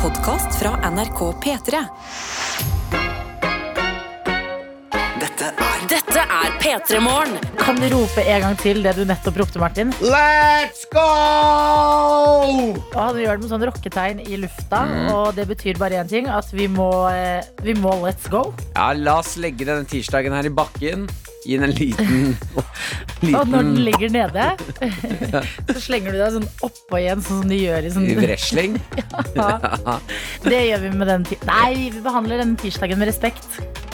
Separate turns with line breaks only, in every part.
podkast fra NRK P3.
Dette er
Dette er P3 Morgen.
Kan du rope en gang til det du nettopp ropte, Martin?
Let's go!
Og han gjør det med sånn rocketegn i lufta, og det betyr bare én ting, at vi må, eh, vi må let's go.
Ja, La oss legge denne tirsdagen her i bakken. Gi den en liten,
Og når den
liten
ligger nede, så slenger du deg sånn oppå igjen, sånn som de gjør i sånn
wrestling.
Ja. Det gjør vi med den ti- Nei, vi behandler denne tirsdagen med respekt.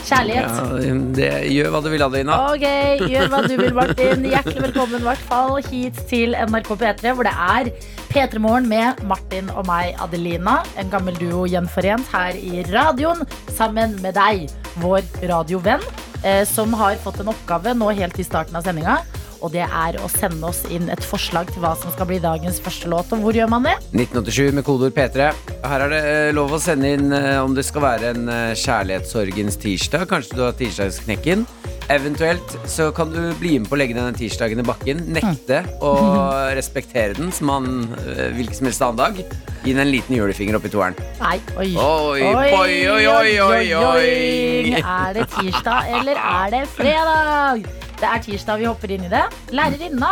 Ja,
Kjærlighet.
det gjør hva du vil, Adelina.
Ok, gjør hva du vil, Martin. Hjertelig velkommen i hvert fall hit til NRK P3, hvor det er P3 Morgen med Martin og meg, Adelina. En gammel duo gjenforent her i radioen sammen med deg, vår radiovenn, eh, som har fått en oppgave nå helt i starten av sendinga. Og det er å sende oss inn et forslag til hva som skal bli dagens første låt. Og hvor gjør man det?
1987 med kodeord P3. Her er det eh, lov å sende inn eh, om det skal være en eh, kjærlighetssorgens tirsdag. Kanskje du har tirsdagsknekken. Eventuelt så kan du bli med på å legge denne tirsdagen i bakken. Nekte å respektere den som han eh, hvilken som helst annen dag. Gi den en liten julefinger opp i toeren.
Nei, oi.
Oi, oi, oi, oi, oi, oi.
Er det tirsdag, eller er det fredag? Det er tirsdag vi hopper inn i det. Lærerinna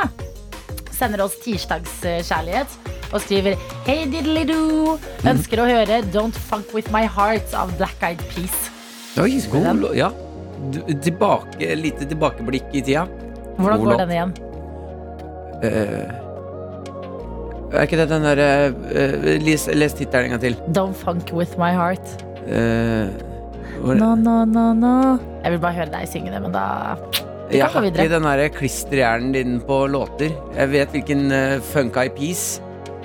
sender oss tirsdagskjærlighet og skriver Hei, diddelido. Ønsker å høre Don't Funk With My Heart av Black Eyed Peas.
Oi, god lå- Ja. Du- Tilbake, lite tilbakeblikk i tida.
Hvordan
God låt.
går den igjen?
Eh, Er ikke det den derre Les, les tittelen en gang til.
Don't Funk With My Heart.
Eh, hvor-
No, no, no, no. Jeg vil bare høre deg synge det, men da
jeg
gå
har
videre.
ikke den derre klisterhjernen din på låter. Jeg vet hvilken eh, Funk Eye Peas.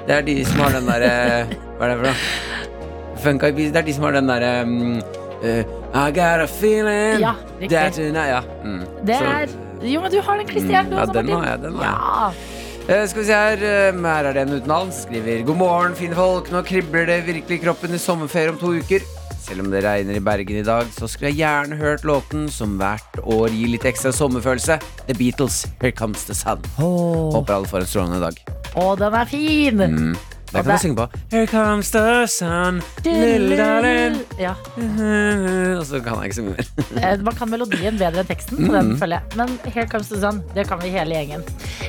Det er de som har den derre Hva er det for noe? Funk Eye Peas, det er de som har den derre mm, eh, I got a feeling
Ja,
that
riktig.
tonight- Ja. Mm.
Det
Så-
er Jo, men du har den klistreren, du
Ja,
også,
den har
Martin.
jeg, den har jeg.
Ja.
Eh, skal vi se her, eh, her er det en uten navn. som Skriver God morgen, fine folk. Nå kribler det virkelig i kroppen i sommerferie om to uker. Selv om det regner i Bergen i dag, så skulle jeg gjerne hørt låten som hvert år gir litt ekstra sommerfølelse. The Beatles, Here Comes The Sun. Håper alle får en strålende dag.
Å, den er fin!
Mm. Der kan
der-
vi synge på Here comes the sun, little darling.
Ja.
Og så kan jeg ikke synge mer.
Eh, Man kan melodien bedre enn teksten, så den følger jeg. Men Here Comes the Sun, det kan vi hele gjengen.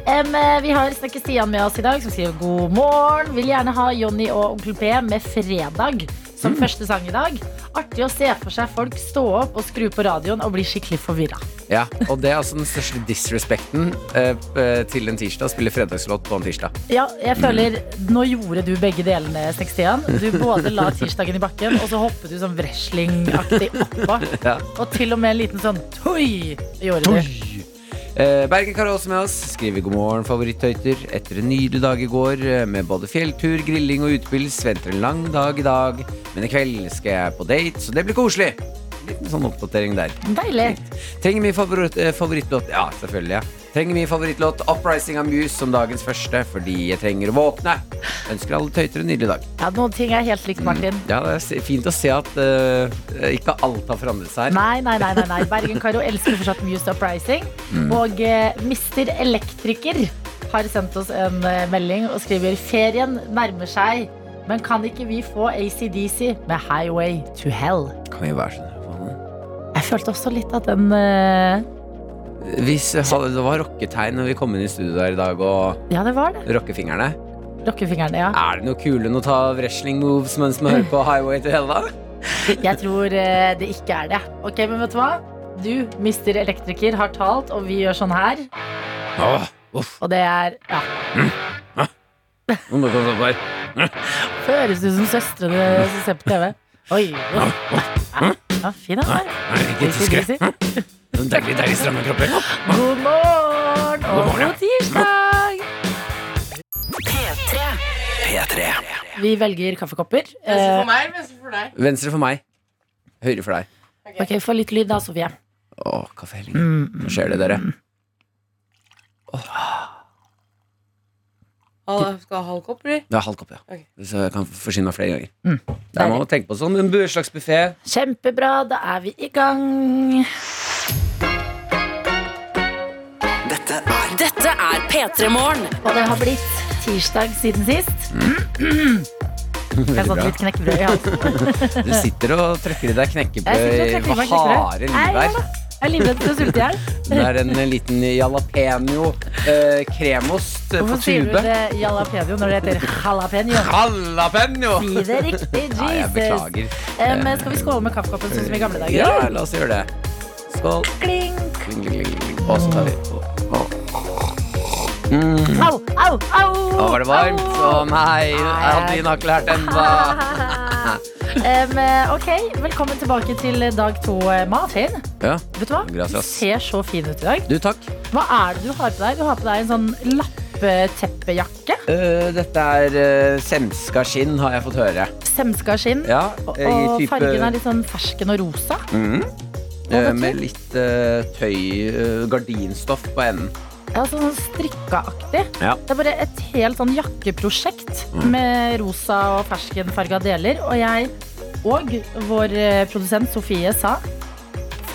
Em, eh, vi har Snekker Stian med oss i dag, som skriver god morgen. Vil gjerne ha Jonny og Onkel P med fredag som første sang i dag. Artig å se for seg folk stå opp og skru på radioen og bli skikkelig forvirra.
Ja, Og det er altså den største disrespekten eh, p- til en tirsdag. Spille fredagslåt på en tirsdag.
Ja, jeg føler Nå gjorde du begge delene, Snekker-Stian. Du både la tirsdagen i bakken, og så hoppet du sånn wrestlingaktig oppå.
Ja.
Og til og med en liten sånn tøy gjorde du.
Eh, Bergen Karo også med oss. Skriver god morgen, favoritthøyter. Etter en nydelig dag i går eh, med både fjelltur, grilling og utepils venter en lang dag i dag. Men i kveld skal jeg på date, så det blir koselig. Liten sånn oppdatering der.
Deilig.
Trenger min favoritt, eh, favorittlåt Ja, selvfølgelig. Ja. Trenger min favorittlåt 'Uprising of Muse' som dagens første fordi jeg trenger å våkne. Ønsker alle tøyter en nydelig dag.
Ja, noen ting er helt likt, Martin.
Ja, Det er s- fint å se at eh, ikke alt har forandret seg. her.
Nei, nei, nei, nei, nei. Bergen-Karo elsker fortsatt Muse Uprising. Og eh, Mr. Elektriker har sendt oss en eh, melding og skriver Ferien nærmer seg, men kan ikke vi få ACDC med Highway to Hell?
Kan vi være sånn?
Jeg følte også litt at den eh,
Hvis eh, hadde- det var rocketegn når vi kom inn i studio der i dag og
Ja, det var det.
rockefingrene.
Rockefingrene, ja.
Er det noe kule enn å ta wrestling moves mens man hører på Highway to Hell, da?
Jeg tror eh, det ikke er det. Ok, men vet du hva? Du, Mr. Elektriker, har talt, og vi gjør sånn her.
Åh, uff,
Og det er Ja.
nå må du komme opp her.
Høres ut som søstrene som ser på TV. Oi. Ja, fin han er.
Ikke tyskere.
Hm?
Sånn Deilig, deilig stramme kropper.
God morgen og god tirsdag!
P3.
Vi velger kaffekopper.
Venstre for
Eh,
meg, venstre for deg.
Venstre for meg. Høyre for deg.
ok, Få litt lyd da, Sofie.
Åh, kaffehelling. Nå skjer det, dere.
Halv, skal ha halv kopp, eller?
Det er halv kopp, ja.
Ok.
Så jeg kan forsyne meg flere ganger.
Mm,
Det er man må tenke på sånn. En bu- slags buffé.
Kjempebra, da er vi i gang.
Dette er
Dette er P3 Morgen.
Og det har blitt tirsdag siden sist. Jeg
Veldig
satt
bra.
litt knekkebrød i halsen.
Du sitter og trykker i deg
Jeg sitter og
knekkebrød
trekker
i
meg
harde
knekkebrød. Nei,
livvær.
ja da. Jeg er livredd for å sulte i hjel.
Det er en liten jalapeño eh, kremost eh, på
Hvorfor sier du
tube.
det jalapeño når det heter jalapeño?
Jalapeño!
Si det riktig, Jesus.
Nei, jeg beklager.
Em, Eh, skal vi skåle med kaffekoppen sånn som i gamle dager?
Ja, la oss gjøre det. Skål.
Kling.
Kling, kling, kling, kling. Og så tar vi Å,
Au, au, au!
Nå var det varmt. Mm. Å
Au.
nei, Adeline har ikke lært ennå.
Em, Eh, ok, velkommen tilbake til dag to, eh, Martin.
Ja.
Vet du hva? Du
Gracias.
ser så fin ut i dag.
Du, takk.
Hva er det du har på deg? Du har på deg en sånn lappeteppejakke.
Eh, dette er eh, semska skinn, har jeg fått høre.
Semska skinn.
Ja,
Og
eh, i
og
type-
fargen er litt sånn fersken og rosa.
Mhm.
vet
Eh,
du?
Med litt eh, tøy, eh, gardinstoff på enden.
Ja, sånn strikkaaktig.
Ja. Mm.
Det er bare et helt sånn jakkeprosjekt med rosa og ferskenfarga deler. Og jeg og vår eh, produsent Sofie sa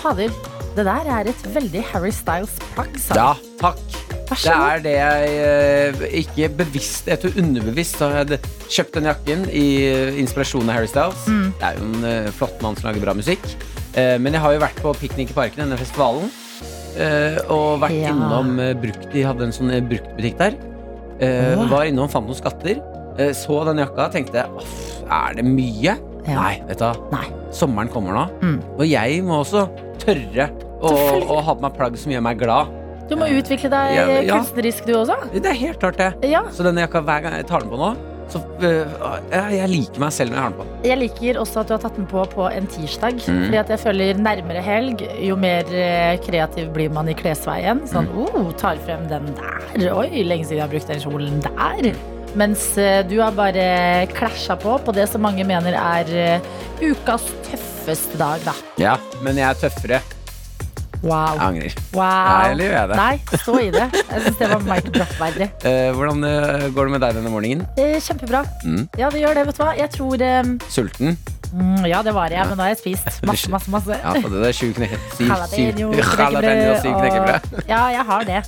Fader, det der er et veldig Harry Styles-plagg, sa
Ja, takk.
hun. Vær
Det
så god.
er det jeg eh, ikke bevisst, jeg tror underbevisst så har jeg d- kjøpt den jakken i eh, inspirasjon av Harry Styles.
Mm.
Det er jo en eh, flott mann som lager bra musikk. Eh, Men jeg har jo vært på Piknik i parken, denne festivalen. eh, Og vært
Ja.
innom eh, brukt, de hadde en sånn eh, bruktbutikk der. Eh,
Wow.
Var innom, fant noen skatter. eh, Så den jakka, tenkte Off, er det mye?
Ja.
Nei, vet du hva.
Nei.
Sommeren kommer nå.
Mm.
Og jeg må også tørre å,
Selvfølgelig.
å ha på meg plagg som gjør meg glad.
Du må utvikle deg
Ja,
eh,
ja.
kunstnerisk, du også.
Det er helt klart, det.
Ja.
Så denne jakka, hver gang jeg tar den på nå så, øh, jeg, jeg liker meg selv når jeg har den på.
Jeg liker også at du har tatt den på på en tirsdag.
Mm.
Fordi at jeg føler nærmere helg, jo mer eh, kreativ blir man i klesveien. Sånn,
Mm.
oh, tar frem den der. Oi, lenge siden jeg har brukt den kjolen der. Mens eh, du har bare klasja på på det som mange mener er eh, ukas tøffeste dag, da.
Ja, Men jeg er tøffere. Jeg
Wow.
angrer.
wow.
Nei, eller gjør jeg det?
Nei, stå i det. Jeg syns det var Mike Dropp-verdig.
Eh, hvordan øh, går det med deg denne morgenen?
Eh, Kjempebra.
Mm.
Ja, det gjør det, vet du hva. Jeg tror eh,
Sulten?
mm, Ja, det var jeg, men nå har jeg spist masse, masse, masse.
Ja, for det er sju knekke... Syv, syv,
Jalapeño,
jalapeño og syv
knekkebrød.
knekkebrød.
og- Ja, jeg har det.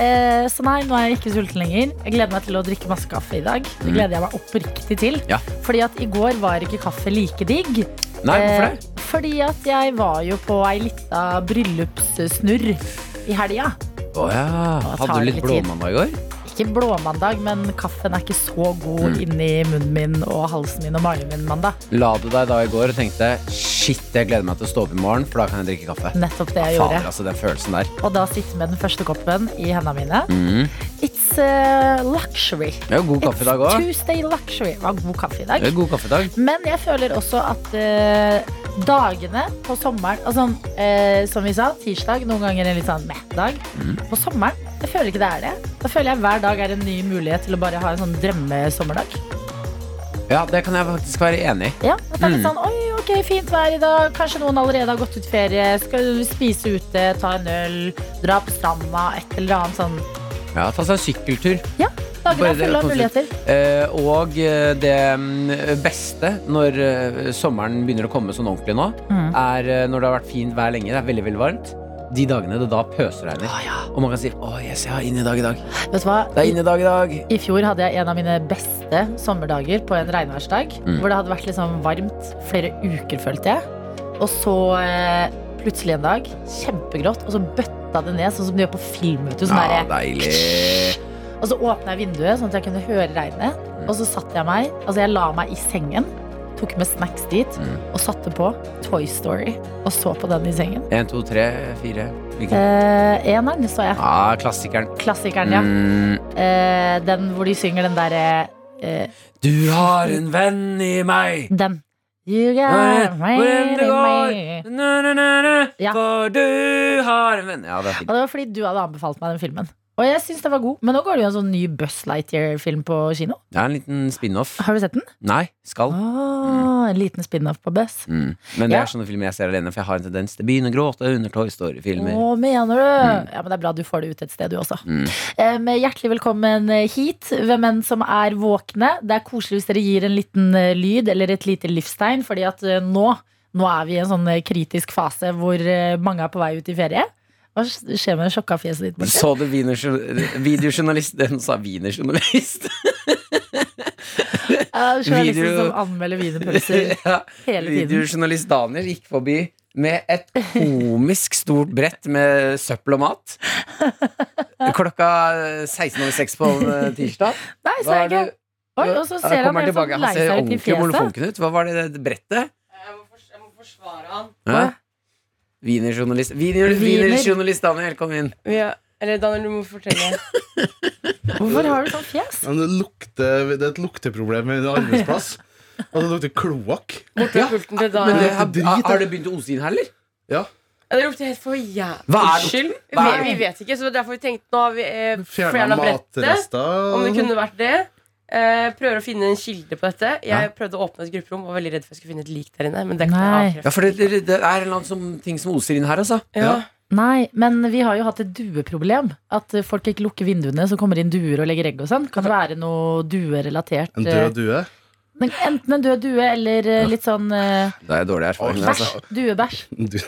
Eh, så nei, nå er jeg ikke sulten lenger. Jeg gleder meg til å drikke masse kaffe i dag. Det gleder jeg meg oppriktig til.
Mm. Ja.
Fordi at i går var ikke kaffe like digg.
Nei, hvorfor
Eh,
det?
fordi at jeg var jo på ei lita bryllupssnurr i helga.
Å ja. Hadde
tar
du litt
litt tid.
blåmandag i går?
Ikke blåmandag, men kaffen er ikke så god
Mm.
inni munnen min og halsen min og magen min mandag.
La du deg da i går og tenkte shit, jeg gleder meg til å stå opp i morgen, for da kan jeg drikke kaffe?
Nettopp det jeg
Fader,
gjorde.
altså, den følelsen der.
Og da sitte med den første koppen i hendene mine.
Mm.
It's eh, luxury.
Det er jo god kaffe i dag
It's
òg.
Tuesday luxury. Det var god kaffe i
Det
dag.
er god kaffe i dag.
Men jeg føler også at eh, dagene på sommeren altså, eh, Som vi sa, tirsdag noen ganger en litt sånn meh-dag.
Mm.
På sommeren jeg føler ikke det er det. Da føler jeg hver dag er en ny mulighet til å bare ha en sånn drømmesommerdag.
Ja, det kan jeg faktisk være enig i.
Ja, at det er litt
Mm.
sånn Oi, ok, fint vær i dag. Kanskje noen allerede har gått ut ferie. Skal spise ute, ta en øl, dra på stranda, et eller annet sånn.
Ja, ta seg en sykkeltur.
Ja, dagene
Bare
er
det
fulle av
konsert.
muligheter.
Eh, og eh, det mm, beste når eh, sommeren begynner å komme sånn ordentlig nå,
Mm.
er eh, når det har vært fint vær lenge, det er veldig veldig varmt. De dagene det da pøsregner. Og man kan si 'Å, yes, jeg har innedag i dag'.
Vet du hva?
Det er innedag i dag.
I fjor hadde jeg en av mine beste sommerdager på en regnværsdag.
Mm.
Hvor det hadde vært liksom varmt flere uker, følte jeg. Og så eh, plutselig en dag, kjempegrått, og så bøtta det ned, sånn som de gjør på film. Vet du, sånn
Ja,
derre-
deilig.
og så åpna jeg vinduet, sånn at jeg kunne høre regnet.
Mm.
Og så satte jeg meg, altså jeg la meg i sengen, tok med snacks dit,
Mm.
og satte på Toy Story. Og så på den i sengen.
Én, to, tre, fire. Hvilken?
Eh, eneren så jeg.
Ah, klassikeren.
Klassikeren, ja.
Mm.
Eh, den hvor de synger den derre eh,
Du har en venn i meg.
Den. You got
Hvor enn du går.
me.
Na, na, na, na.
Ja.
For du har en venn Ja, det er
Og det
fint.
var fordi du hadde anbefalt meg den filmen. Og jeg syns den var god. Men nå går det jo en sånn ny Buzz Lightyear-film på kino.
Det er en liten spin-off.
Har du sett den?
Nei, skal.
Åh, en liten spin-off på Buzz.
Mm. Men det
Ja.
er sånne filmer jeg ser alene, for jeg har en tendens til å begynne å gråte under Toy Story-filmer.
Å, mener du?
Mm.
Ja, men Det er bra du får det ut et sted, du også.
Mm.
Eh, men hjertelig velkommen eh, hit, hvem enn som er våkne. Det er koselig hvis dere gir en liten eh, lyd eller et lite livstegn, fordi at eh, nå, nå er vi i en sånn eh, kritisk fase hvor eh, mange er på vei ut i ferie. Hva skjer med sjokka fjeset ditt? Martin?
Så du wienersjo- videojournalist Den sa wienerjournalist.
Ja, Journalister
Video-
som anmelder wienerpølser
ja,
hele tiden.
videojournalist Daniel gikk forbi med et komisk stort brett med søppel og mat. Klokka 16.06 på en tirsdag.
Nei, så
Hva er
jeg ikke.
det-
Oi, og så
Ja,
ser han
kommer
helt
tilbake.
sånn lei
Han ser
seg ut i
ordentlig
fjeset.
monofonkun ut. Hva var det det brettet?
Jeg må, fors jeg må forsvare han.
Ja. Wienerjournalist Wiener,
Wiener.
Wienerjournalist Daniel, kom inn.
Ja. Eller Daniel, du må fortelle.
Hvorfor har du sånn fjes?
Men det, lukter, det er et lukteproblem i en arbeidsplass. Og det lukter kloakk.
Bort
Ja,
med pulten
Men
til Daniel.
det,
det
har,
drit,
har
da.
det begynt å ose inn her, eller?
Ja.
Ja, Det lukter helt for jævlig.
Hva er det?
Unnskyld.
Hva er
Vi, vi vet ikke, så derfor vi tenkte nå har vi eh,
Fjerna
brettet.
matrester.
Om det kunne vært det. Eh, prøver å finne en kilde på dette. Jeg
Ja.
prøvde å åpne et grupperom, var veldig redd for jeg skulle finne et lik der inne. Men det kan
Nei.
jeg
Ja,
avkrefte.
for det, det, det er en eller annen som, ting som oser inn her, altså.
Ja.
Nei, men vi har jo hatt et dueproblem. At eh, folk ikke lukker vinduene, så kommer det inn duer og legger egg og sånn. Kan det være noe duerelatert?
En
eh,
død due.
men Enten en død due eller eh, litt sånn eh,
Det er dårlig erfaring.
Åh,
Altså.
bæsj. Duebæsj.
Du,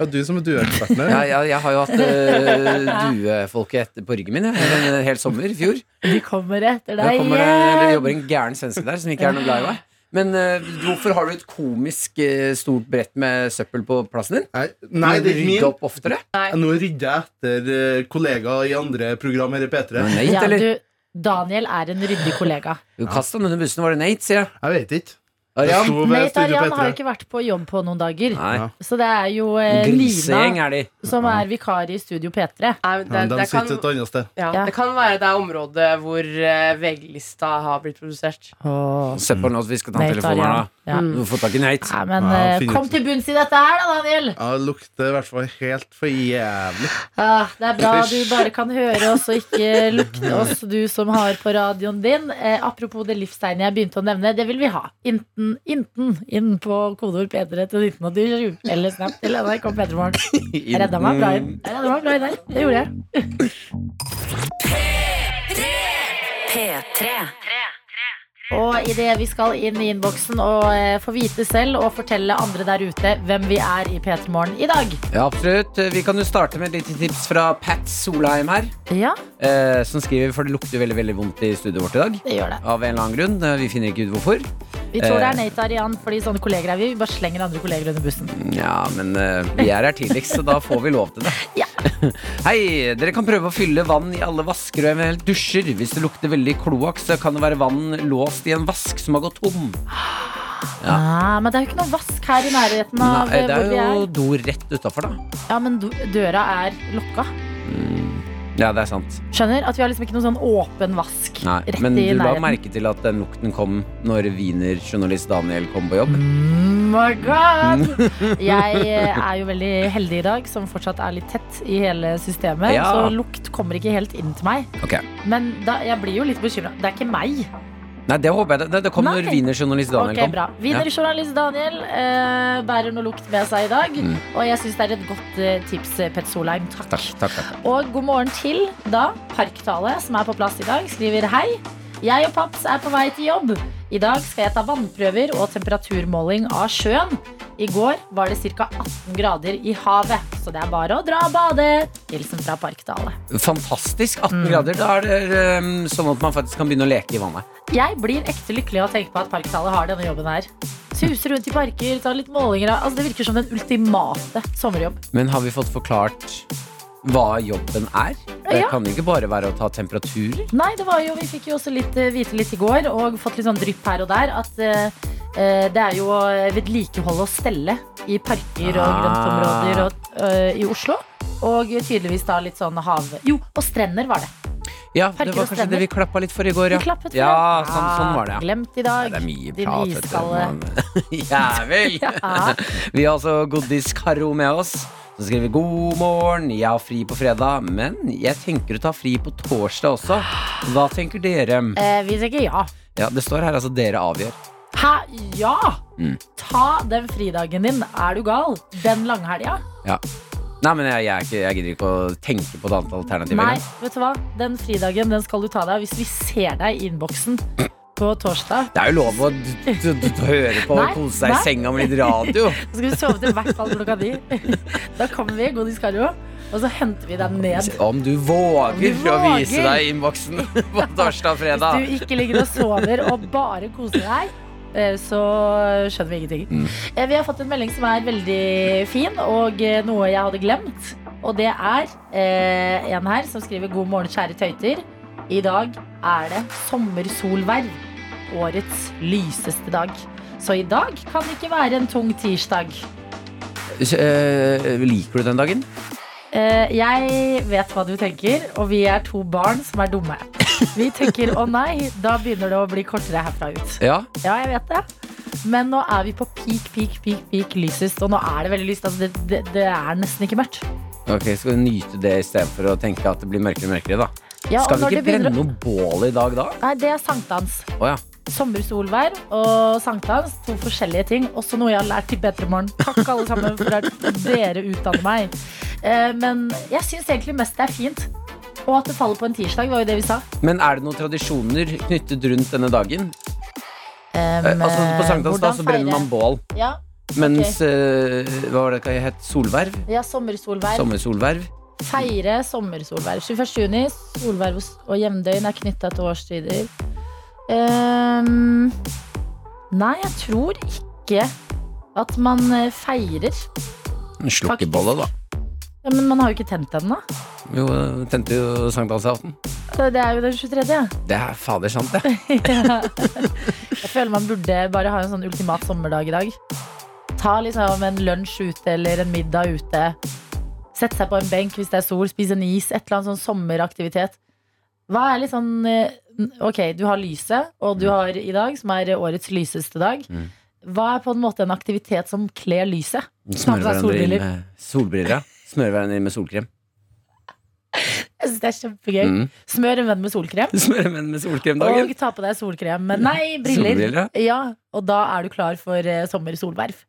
ja, du som er dueekspert nå.
Ja, ja, jeg har jo hatt uh, duefolket etter- på ryggen min jeg, en hel sommer i fjor.
De kommer etter
Der
deg
kommer det, det
igjen.
jobber en gæren svenske der som ikke er noe glad i meg. Men eh, hvorfor har du et komisk eh, stort brett med søppel på plassen din?
Nei, nei, det er ikke
Rydde
min.
opp oftere?
Nå rydder jeg etter eh, kollegaer i andre program her i P3.
Nate,
Ja,
eller?
du, Daniel er en ryddig kollega.
Du kast han under bussen, var det Nate, sier jeg.
Jeg vet ikke. Jeg
Arian?
sto ved
Nate
Studio
Arian har jo
P3.
ikke vært på jobb på noen dager.
Nei.
Ja.
Så det er jo eh,
Grisegjeng
Lina
er de.
som er vikar i Studio P3.
Nei, men
Ja,
det,
de
det, kan,
sitter et annet sted.
ja,
Ja.
det kan være det er området hvor eh, VG-lista har blitt produsert.
Åh,
Se på nå, så vi skal ta
Nate
telefonen her,
Arian. Mm.
da. Mm.
Ja.
Du får tak i Nate.
Nei, men
Ja,
eh,
fin
kom
ut.
til bunns i dette her, da, Daniel.
Ja, det lukter i hvert fall helt for jævlig.
Ah, det er bra du
Hysj.
bare kan høre oss og ikke lukte oss, du som har på radioen din. Eh, apropos det livstegnet jeg begynte å nevne, det vil vi ha. Inten, inten, inn på kodeord P3 til 1987, eller Snap til NRK P3morgen. Jeg redda meg bra inn. Jeg redda meg bra inn der. Det gjorde jeg.
P3.
Og idet vi skal inn i innboksen og eh, få vite selv og fortelle andre der ute hvem vi er i P3morgen i dag.
Ja, absolutt. Vi kan jo starte med et lite tips fra Pat Solheim her.
Ja,
eh, Som skriver, for det lukter veldig, veldig vondt i studioet vårt i dag.
det gjør det.
Av en eller annen grunn. eh, Vi finner ikke ut hvorfor.
Vi tror
Eh.
det er Nate Arian, fordi sånne kolleger er vi. Vi bare slenger andre kolleger under bussen.
Ja, men eh, vi er her tidligst, så da får vi lov til det.
Ja.
Hei, dere kan prøve å fylle vann i alle vasker og eventuelt dusjer. Hvis det lukter veldig kloakk, så kan det være vann låst i en vask som har gått tom.
Ah, men det er jo ikke noe vask her i nærheten av
Nei,
eh,
det
hvor
er
vi er.
jo do rett utafor, da.
Ja, men d- døra er lukka.
Ja, det er sant.
Skjønner? At vi har liksom ikke noen sånn åpen vask
Nei,
rett
men
i
du la
nærheten.
merke til at den lukten kom når wienerjournalist Daniel kom på jobb?
Mm, My God! Jeg eh, er jo veldig heldig i dag, som fortsatt er litt tett i hele systemet.
Ja.
Så lukt kommer ikke helt inn til meg.
Ok.
Men da, jeg blir jo litt bekymra. Det er ikke meg.
Nei, det håper jeg. Det, det kom når
Nei.
wienerjournalist Daniel
Ok,
kom.
bra Wienerjournalist Daniel eh, bærer noe lukt med seg i dag.
Mm.
Og jeg syns det er et godt eh, tips, eh, Pet Solheim. Takk.
Takk, takk, takk.
Og god morgen til da Parktale, som er på plass i dag, skriver hei. Jeg og Paps er på vei til jobb. I dag skal jeg ta vannprøver og temperaturmåling av sjøen. I går var det ca. 18 grader i havet, så det er bare å dra og bade. Hilsen fra Parktale.
Fantastisk. 18
Mm.
grader. Da er det ehm, sånn at man faktisk kan begynne å leke i vannet.
Jeg blir ekte lykkelig av å tenke på at Parktale har denne jobben her. Suser rundt i parker, tar litt målinger av altså, Det virker som den ultimate sommerjobb.
Men har vi fått forklart hva jobben er? Det
Ja.
kan ikke bare være å ta temperaturer.
Nei, det var jo, vi fikk jo også litt, eh, vite litt i går, og fått litt sånn drypp her og der, at eh, eh, det er jo å vedlikeholde og stelle i parker og
Ah.
grøntområder og, eh, i Oslo. Og tydeligvis da litt sånn hav... Jo, og strender var det.
Ja,
Parker
det var
og
kanskje
strender.
det vi klappa litt for i går,
Vi
ja.
klappet for
Ja,
det.
sånn, sånn var det, ja.
Glemt i dag.
Det er mye
Din
prat, vet du.
iskalle.
men- Ja vel.
Ja.
Vi har altså Godis Karo med oss. Så skriver vi god morgen, jeg har fri på fredag, men jeg tenker å ta fri på torsdag også. Hva tenker dere?
Eh, vi tenker ja.
Ja, Det står her altså 'dere avgjør'.
Hæ? Ja!
Mm.
Ta den fridagen din. Er du gal? Den langhelga?
Nei, men jeg, jeg, er ikke, jeg gidder ikke å tenke på et annet alternativ.
Nei,
engang.
vet du hva? Den fridagen den skal du ta deg av hvis vi ser deg i innboksen. på torsdag.
Det er jo lov å d d d høre på og
Nei,
kose seg
nei.
i senga med litt radio.
Så skal vi sove til i hvert fall klokka ni. Da kommer vi, Godis Carlo, og så henter vi deg ned.
Om du våger,
Om du
å vise
våger.
deg innboksen på torsdag og fredag.
Hvis du ikke ligger og sover og bare koser deg, eh, så skjønner vi ingenting. Eh, Vi har fått en melding som er veldig fin, og eh, noe jeg hadde glemt. Og det er eh, en her som skriver 'God morgen, kjære tøyter'. I dag er det sommersolverv. Årets lyseste dag. Så i dag kan det ikke være en tung tirsdag.
Eh, liker du den dagen?
Eh, jeg vet hva du tenker, og vi er to barn som er dumme. Vi tenker 'å nei', da begynner det å bli kortere herfra ut.
Ja.
Ja, jeg vet det. Men nå er vi på peak, peak, peak, peak lysest. Og nå er det veldig lyst. Altså, det, det, det er nesten ikke mørkt.
Ok, Skal du nyte det istedenfor å tenke at det blir mørkere og mørkere? da
Ja,
Skal
og når
vi
det
ikke
begynner
brenne
å-
noe bål i dag da?
Nei, det er sankthans.
Å ja.
Sommersolvær og sankthans. To forskjellige ting. Også noe jeg har lært til Bedre morgen. Takk, alle sammen, for at dere utdanner meg. Eh, Men jeg syns egentlig mest det er fint. Og at det faller på en tirsdag, var jo det vi sa.
Men er det noen tradisjoner knyttet rundt denne dagen?
Um,
Eh, altså På sankthans da
hvordan
så brenner
feire?
man bål.
Ja,
Mens eh, Hva var det det het? Solverv?
ja sommersolvær.
Sommersolverv?
Feire sommersolverv. 21. juni. Solverv og jevndøgn er knytta til årstider. Ehm, nei, jeg tror ikke at man eh, feirer.
En Slukkebolle, da.
Ja, men man har jo ikke tent ennå.
Jo, eh, tente jo sankthansaften.
Så Det er jo den 23.
Det er fader sant, det.
Jeg føler man burde bare ha en sånn ultimat sommerdag i dag. Ta liksom en lunsj ute eller en middag ute. Sette seg på en benk hvis det er sol. Spise en is. Et eller annet sånn sommeraktivitet. Hva er litt sånn eh, Ok, du har lyset, og du har i dag, som er årets lyseste dag.
Mm.
Hva er på en måte en aktivitet som kler lyset?
Smører
Snart er
hverandre inn
solbriller.
med solbriller. ja. Smører hverandre inn med solkrem.
Jeg synes det er kjempegøy.
Mm.
Smør en venn med solkrem.
Smører menn med solkrem dagen.
Og ta på deg solkrem. Men nei, briller.
Solbriller,
Ja, Og da er du klar for eh, sommersolverv.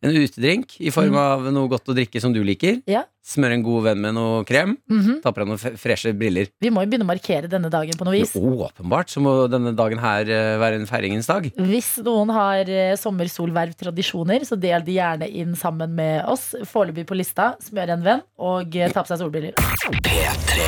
En utedrink i form av noe godt å drikke som du liker.
Mm. Ja.
Smør en god venn med noe krem.
Mhm.
Ta på deg noen f- freshe briller.
Vi må jo begynne å markere denne dagen på noe vis.
Åpenbart så må denne dagen her eh, være en feiringens dag.
Hvis noen har eh, sommersolvervtradisjoner, så del de gjerne inn sammen med oss. Foreløpig på lista, smør en venn og eh, ta på seg solbriller.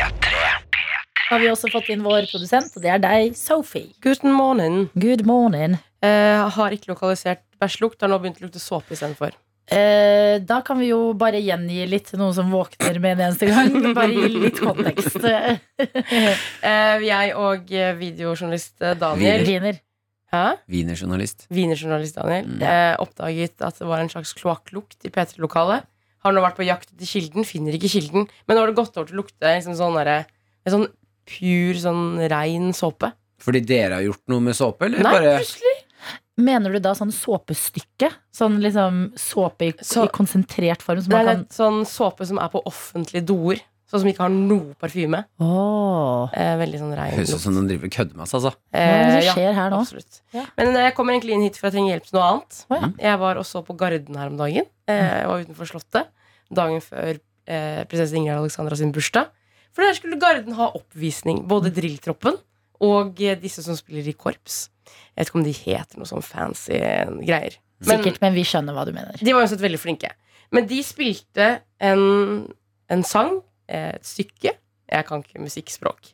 Da har vi også fått inn vår produsent, og det er deg, Sophie.
Guten morgen.
Good morning.
Eh, har ikke lokalisert bæsjlukt. Har nå begynt å lukte såpe istedenfor.
Eh, da kan vi jo bare gjengi litt noen som våkner med en eneste gang. Bare gi litt kontekst.
Eh, jeg og eh, videojournalist eh, Daniel
Viner.
Hæ?
Wienerjournalist.
Wienerjournalist Daniel
Mm.
eh, oppdaget at det var en slags kloakklukt i P3-lokalet. Har nå vært på jakt etter kilden, finner ikke kilden. Men nå har det gått over til å lukte liksom sånn derre- en sånn pur, sånn rein såpe.
Fordi dere har gjort noe med såpe, eller?
Nei,
bare
plutselig!
Mener du da sånn såpestykke? Sånn liksom såpe i,
Så-
i konsentrert form? Som
Det
man
er
kan...
litt sånn såpe som er på offentlige doer. Sånn som ikke har noe parfyme.
Åh.
Eh, veldig sånn rein
høres ut
lukt.
som noen driver og kødder med oss, altså.
Hva er det
Eh,
som
ja,
skjer her nå?
absolutt.
Ja.
Men eh, jeg kommer egentlig inn hit for å trenge hjelp til noe annet.
Å, ja. Mm.
Jeg var også på Garden her om dagen. Eh, Jeg var utenfor Slottet dagen før eh, prinsesse Ingrid Alexandra sin bursdag. For der skulle Garden ha oppvisning.
Mm.
Både drilltroppen og eh, disse som spiller i korps. Jeg vet ikke om de heter noe sånn fancy greier. Men
Sikkert, men vi skjønner hva du mener.
de var uansett veldig flinke. Men de spilte en, en sang, eh, et stykke. Jeg kan ikke musikkspråk.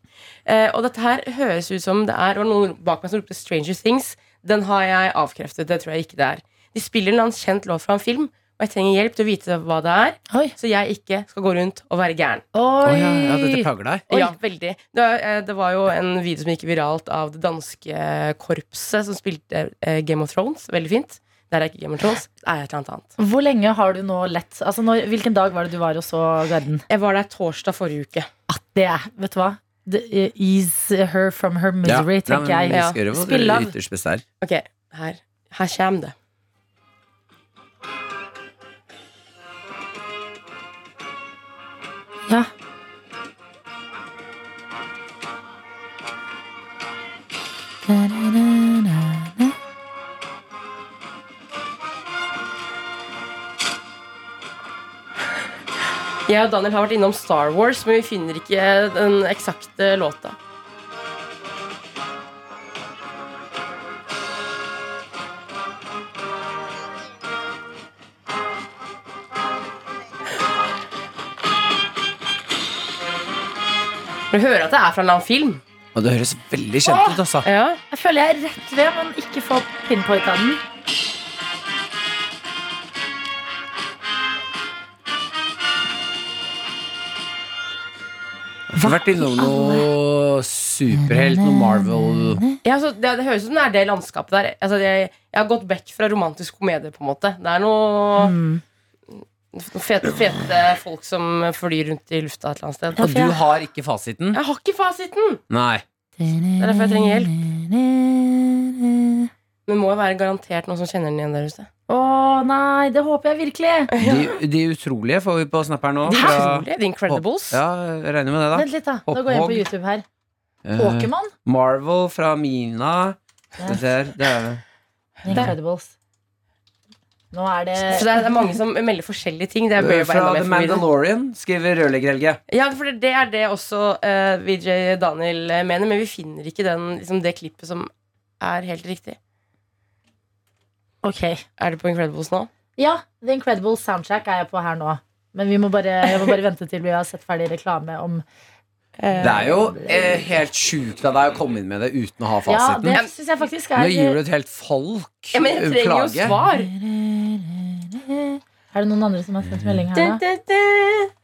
Eh, og dette her høres ut som det er Og noen bak meg som ropte 'Stranger Things'. Den har jeg avkreftet. Det tror jeg ikke det er. De spiller en eller annen kjent låt fra en film, og jeg trenger hjelp til å vite hva det er,
Oi.
så jeg ikke skal gå rundt og være gæren.
Å ja, ja, dette
Oi!
plager deg.
Oi.
Ja, veldig. Det, eh, det var jo en video som gikk viralt av det danske korpset som spilte eh, Game of Thrones. Veldig fint. Der er ikke Game of Thrones. Det er et eller annet annet.
Hvor lenge har du nå lett Altså, når, Hvilken dag var det du var og så Garden?
Jeg var der torsdag forrige uke.
Det er, vet du hva? The, eh, ease her from her misery, tenker
nei, men
jeg.
vi skal gjøre vår
Spill av.
ytterst beste her.
Ok, her, her kommer det.
Ja.
Jeg og Daniel har vært innom Star Wars, men vi finner ikke den eksakte låta. For du hører at det er fra en eller annen film.
Og det høres veldig kjent ut, altså.
Ja.
Jeg føler jeg er rett ved, men ikke får pinpoint av den.
Har vært innom noe superhelt, noe Marvel
Ja, så det, det høres ut som det er det landskapet der. Altså, jeg, jeg har gått vekk fra romantisk komedie, på en måte. Det er noe noe fete, fete folk som flyr rundt i lufta et eller annet sted.
Og du har ikke fasiten?
Jeg har ikke fasiten!
Nei.
Det er derfor jeg trenger hjelp. Men det må jo være garantert noen som kjenner den igjen der ute.
Å nei, det håper jeg virkelig.
De, de utrolige får vi på snap her nå.
Det er
fra-
utrolig. The Incredibles.
Ja, jeg regner med det, da.
Vent litt, da. Nå går jeg inn på YouTube her.
Eh,
Pokémon?
Marvel fra Mina.
Ja.
Det der, det er
Incredibles. Nå er det
Så det er, det er mange som melder forskjellige ting. Det er bare
Eh, Fra
enda mer
The
forvirrende.
Mandalorian, skriver Rørlegger-Helge.
Ja, for det er det også eh, VJ Daniel eh, mener, men vi finner ikke den, liksom, det klippet som er helt riktig.
Ok.
Er det på Incredibles nå?
Ja, The Incredible Soundtrack er jeg på her nå. Men vi må bare, jeg må bare vente til vi har sett ferdig reklame om
Eh,
Det er jo eh, helt sjukt av deg å komme inn med det uten å ha
Ja,
fasiten.
det syns jeg faktisk
Nå gir du
er
et helt folk
ja, men jeg
en
trenger jo
plage.
svar!
Er det noen andre som har sendt melding her? da?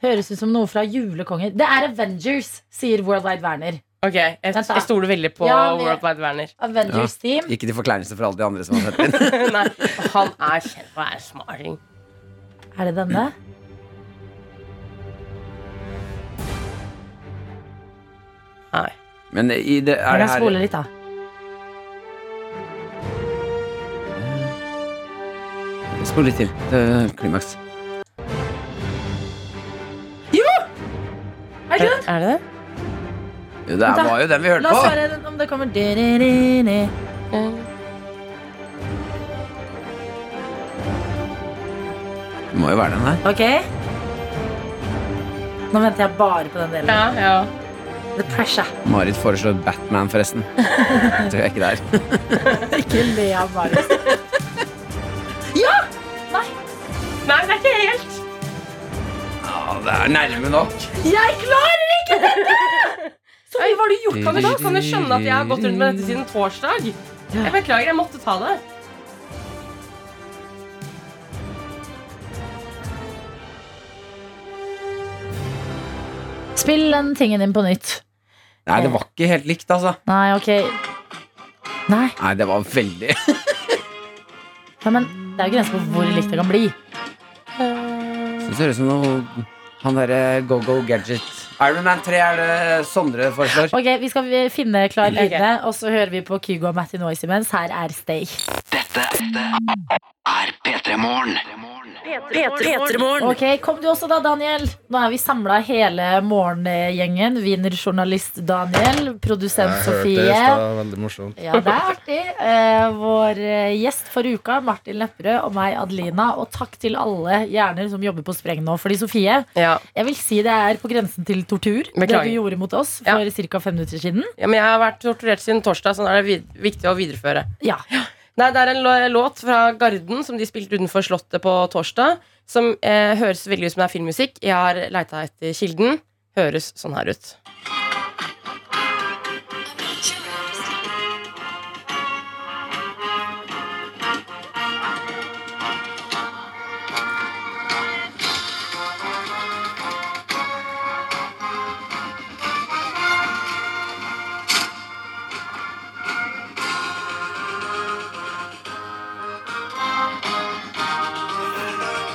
Høres ut som noe fra Julekonger. Det er Avengers, sier Worldwide Werner.
Ok, jeg,
Vent da.
jeg stoler veldig på
Ja, vi-
World Wide Werner.
Avengers Team.
Ikke til forkleinelse for alle de andre som har sett den.
Nei, han er kjent for å være smarting.
Er det denne?
Nei.
Men eh, i det, er det
Jeg
her
spoler litt, da.
Spol litt til. Det er Klimaks.
Er det den?
Er det det?
Jo, det er- var jo den vi hørte
La oss
på.
høre om det kommer Du-du-du-du.
Det må jo være den her.
Ok? Nå venter jeg bare på den delen.
Ja, ja.
The pressure.
Marit foreslår Batman, forresten. Det tror jeg ikke det er.
Ikke le av Marius.
Nei, det er ikke helt!
Ja, det er nærme nok.
Jeg klarer ikke dette!
Så hva har du gjort med det da? Kan du skjønne at jeg har gått rundt med dette siden torsdag? Jeg beklager, jeg måtte ta det.
Spill den tingen din på nytt.
Nei, det var ikke helt likt, altså.
Nei, ok. Nei,
Nei, det var veldig
ja, men det er jo grenser for hvor likt det kan bli.
Det ser ut som noe Han derre Go Go Gadget. Iron Man 3 er det Sondre foreslår.
Ok, Vi skal eh, finne klar
Ok.
lydene, og så hører vi på Kygo og Matty Noise imens. Her er Stay.
Dette er P3 Morgen.
P3morgen.
Ok, Kom du også da, Daniel. Nå er vi samla hele morgengjengen. Wienerjournalist Daniel, produsent Sofie.
Veldig morsomt.
Ja, det er artig. Eh, vår eh, gjest for uka, Martin Lepperød og meg, Adelina. Og takk til alle hjerner som jobber på spreng nå. Fordi Sofie,
Ja.
jeg vil si det er på grensen til tortur,
Beklager.
det du gjorde mot oss
Ja.
for ca. fem minutter siden.
ja, men jeg har vært torturert siden torsdag, så nå er det vid- viktig å videreføre.
Ja.
Nei, det er en lå- låt fra Garden som de spilte utenfor Slottet på torsdag. Som eh, høres veldig ut som det er filmmusikk. Jeg har leita etter kilden. Høres sånn her ut.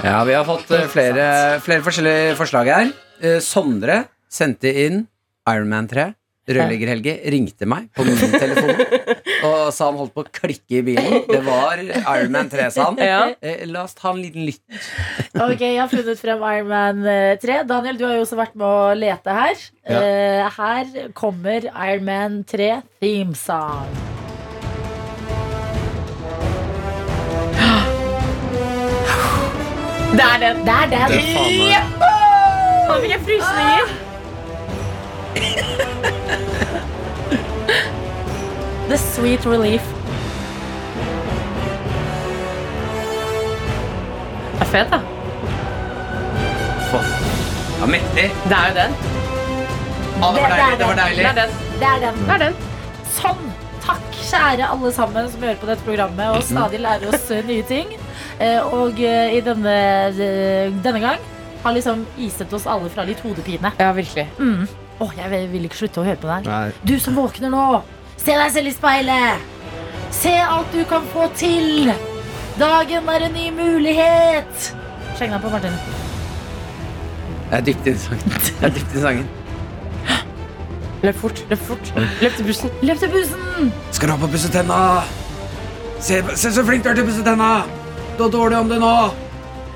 Ja, vi har fått eh, flere, flere forskjellige forslag her. Eh, Sondre sendte inn Iron Man 3. Rørlegger Helge ringte meg på min telefon og sa han holdt på å klikke i bilen. Det var Iron Man 3, sa han.
Ja.
Eh, La oss ta en liten lytt.
Ok, jeg har funnet frem Iron Man eh, 3. Daniel, du har jo også vært med å lete her.
Ja.
Eh, her kommer Iron Man 3 theme song.
Det er den!
Det er den.
Det er faen meg
Nå fikk jeg frysninger.
The Sweet Relief.
Det er fet, da.
Få. Ja, mektig.
Det er jo
Å,
den.
det var deilig. Det var
Det
deilig.
er den.
Det er den.
Det er den.
Sånn! Takk, kjære alle sammen som hører på dette programmet
Mhm.
og stadig lærer oss eh, nye ting. Eh, Og eh, i denne, eh, denne gang har liksom iset oss alle fra litt hodepine.
Ja, virkelig.
Mm. Åh, jeg vil ikke slutte å høre på det her.
Nei.
Du som våkner nå, se deg selv i speilet. Se alt du kan få til. Dagen er en ny mulighet. Sleng deg på, Martin.
Jeg er dypt inn i sangen. Jeg er dypt inn i sangen.
Løp fort, løp fort. Løp til bussen.
Løp til bussen.
Skal du opp og pusse tenna? Se, se så flink du er til å pusse tenna! Du har dårlig om det nå.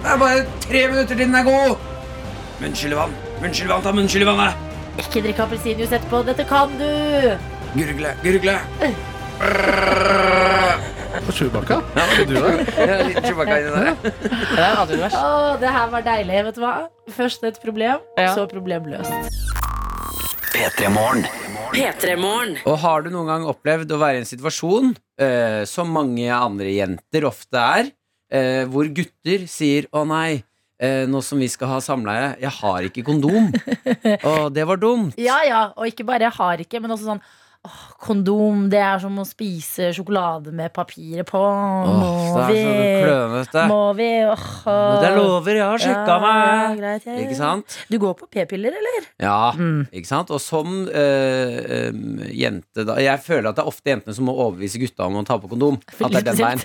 Det er bare tre minutter til den er god. Munnskyldvann. Munnskyldvann. Ta munnskyldvannet.
Ikke drikk appelsinjuice etterpå. Dette kan du.
Gurgle. Gurgle.
Og Chewbacca. Er du der?
Ja, en liten Chewbacca inni der, ja.
Det er et annet univers.
Å, det her var deilig. Vet du hva? Først et problem,
Ja.
så problem løst.
P3-morgen.
P3-morgen.
Og har du noen gang opplevd å være i en situasjon, eh, som mange andre jenter ofte er, eh, hvor gutter sier 'Å nei, eh, nå som vi skal ha samleie, jeg har ikke kondom'. Å, det var dumt.
Ja, ja. Og ikke bare jeg har ikke, men også sånn åh, kondom. Det er som å spise sjokolade med papiret på.
Åh, det er så klønete.
Må vi? Åh,
Men Det er lover, jeg har sjekka
Ja,
meg.
greit, ja, ja.
Ikke sant?
Du går på p-piller, eller?
Ja,
Mm.
ikke sant? Og som eh, em, jente da, Jeg føler at det er ofte jentene som må overbevise gutta om å ta på kondom. At det er den veien.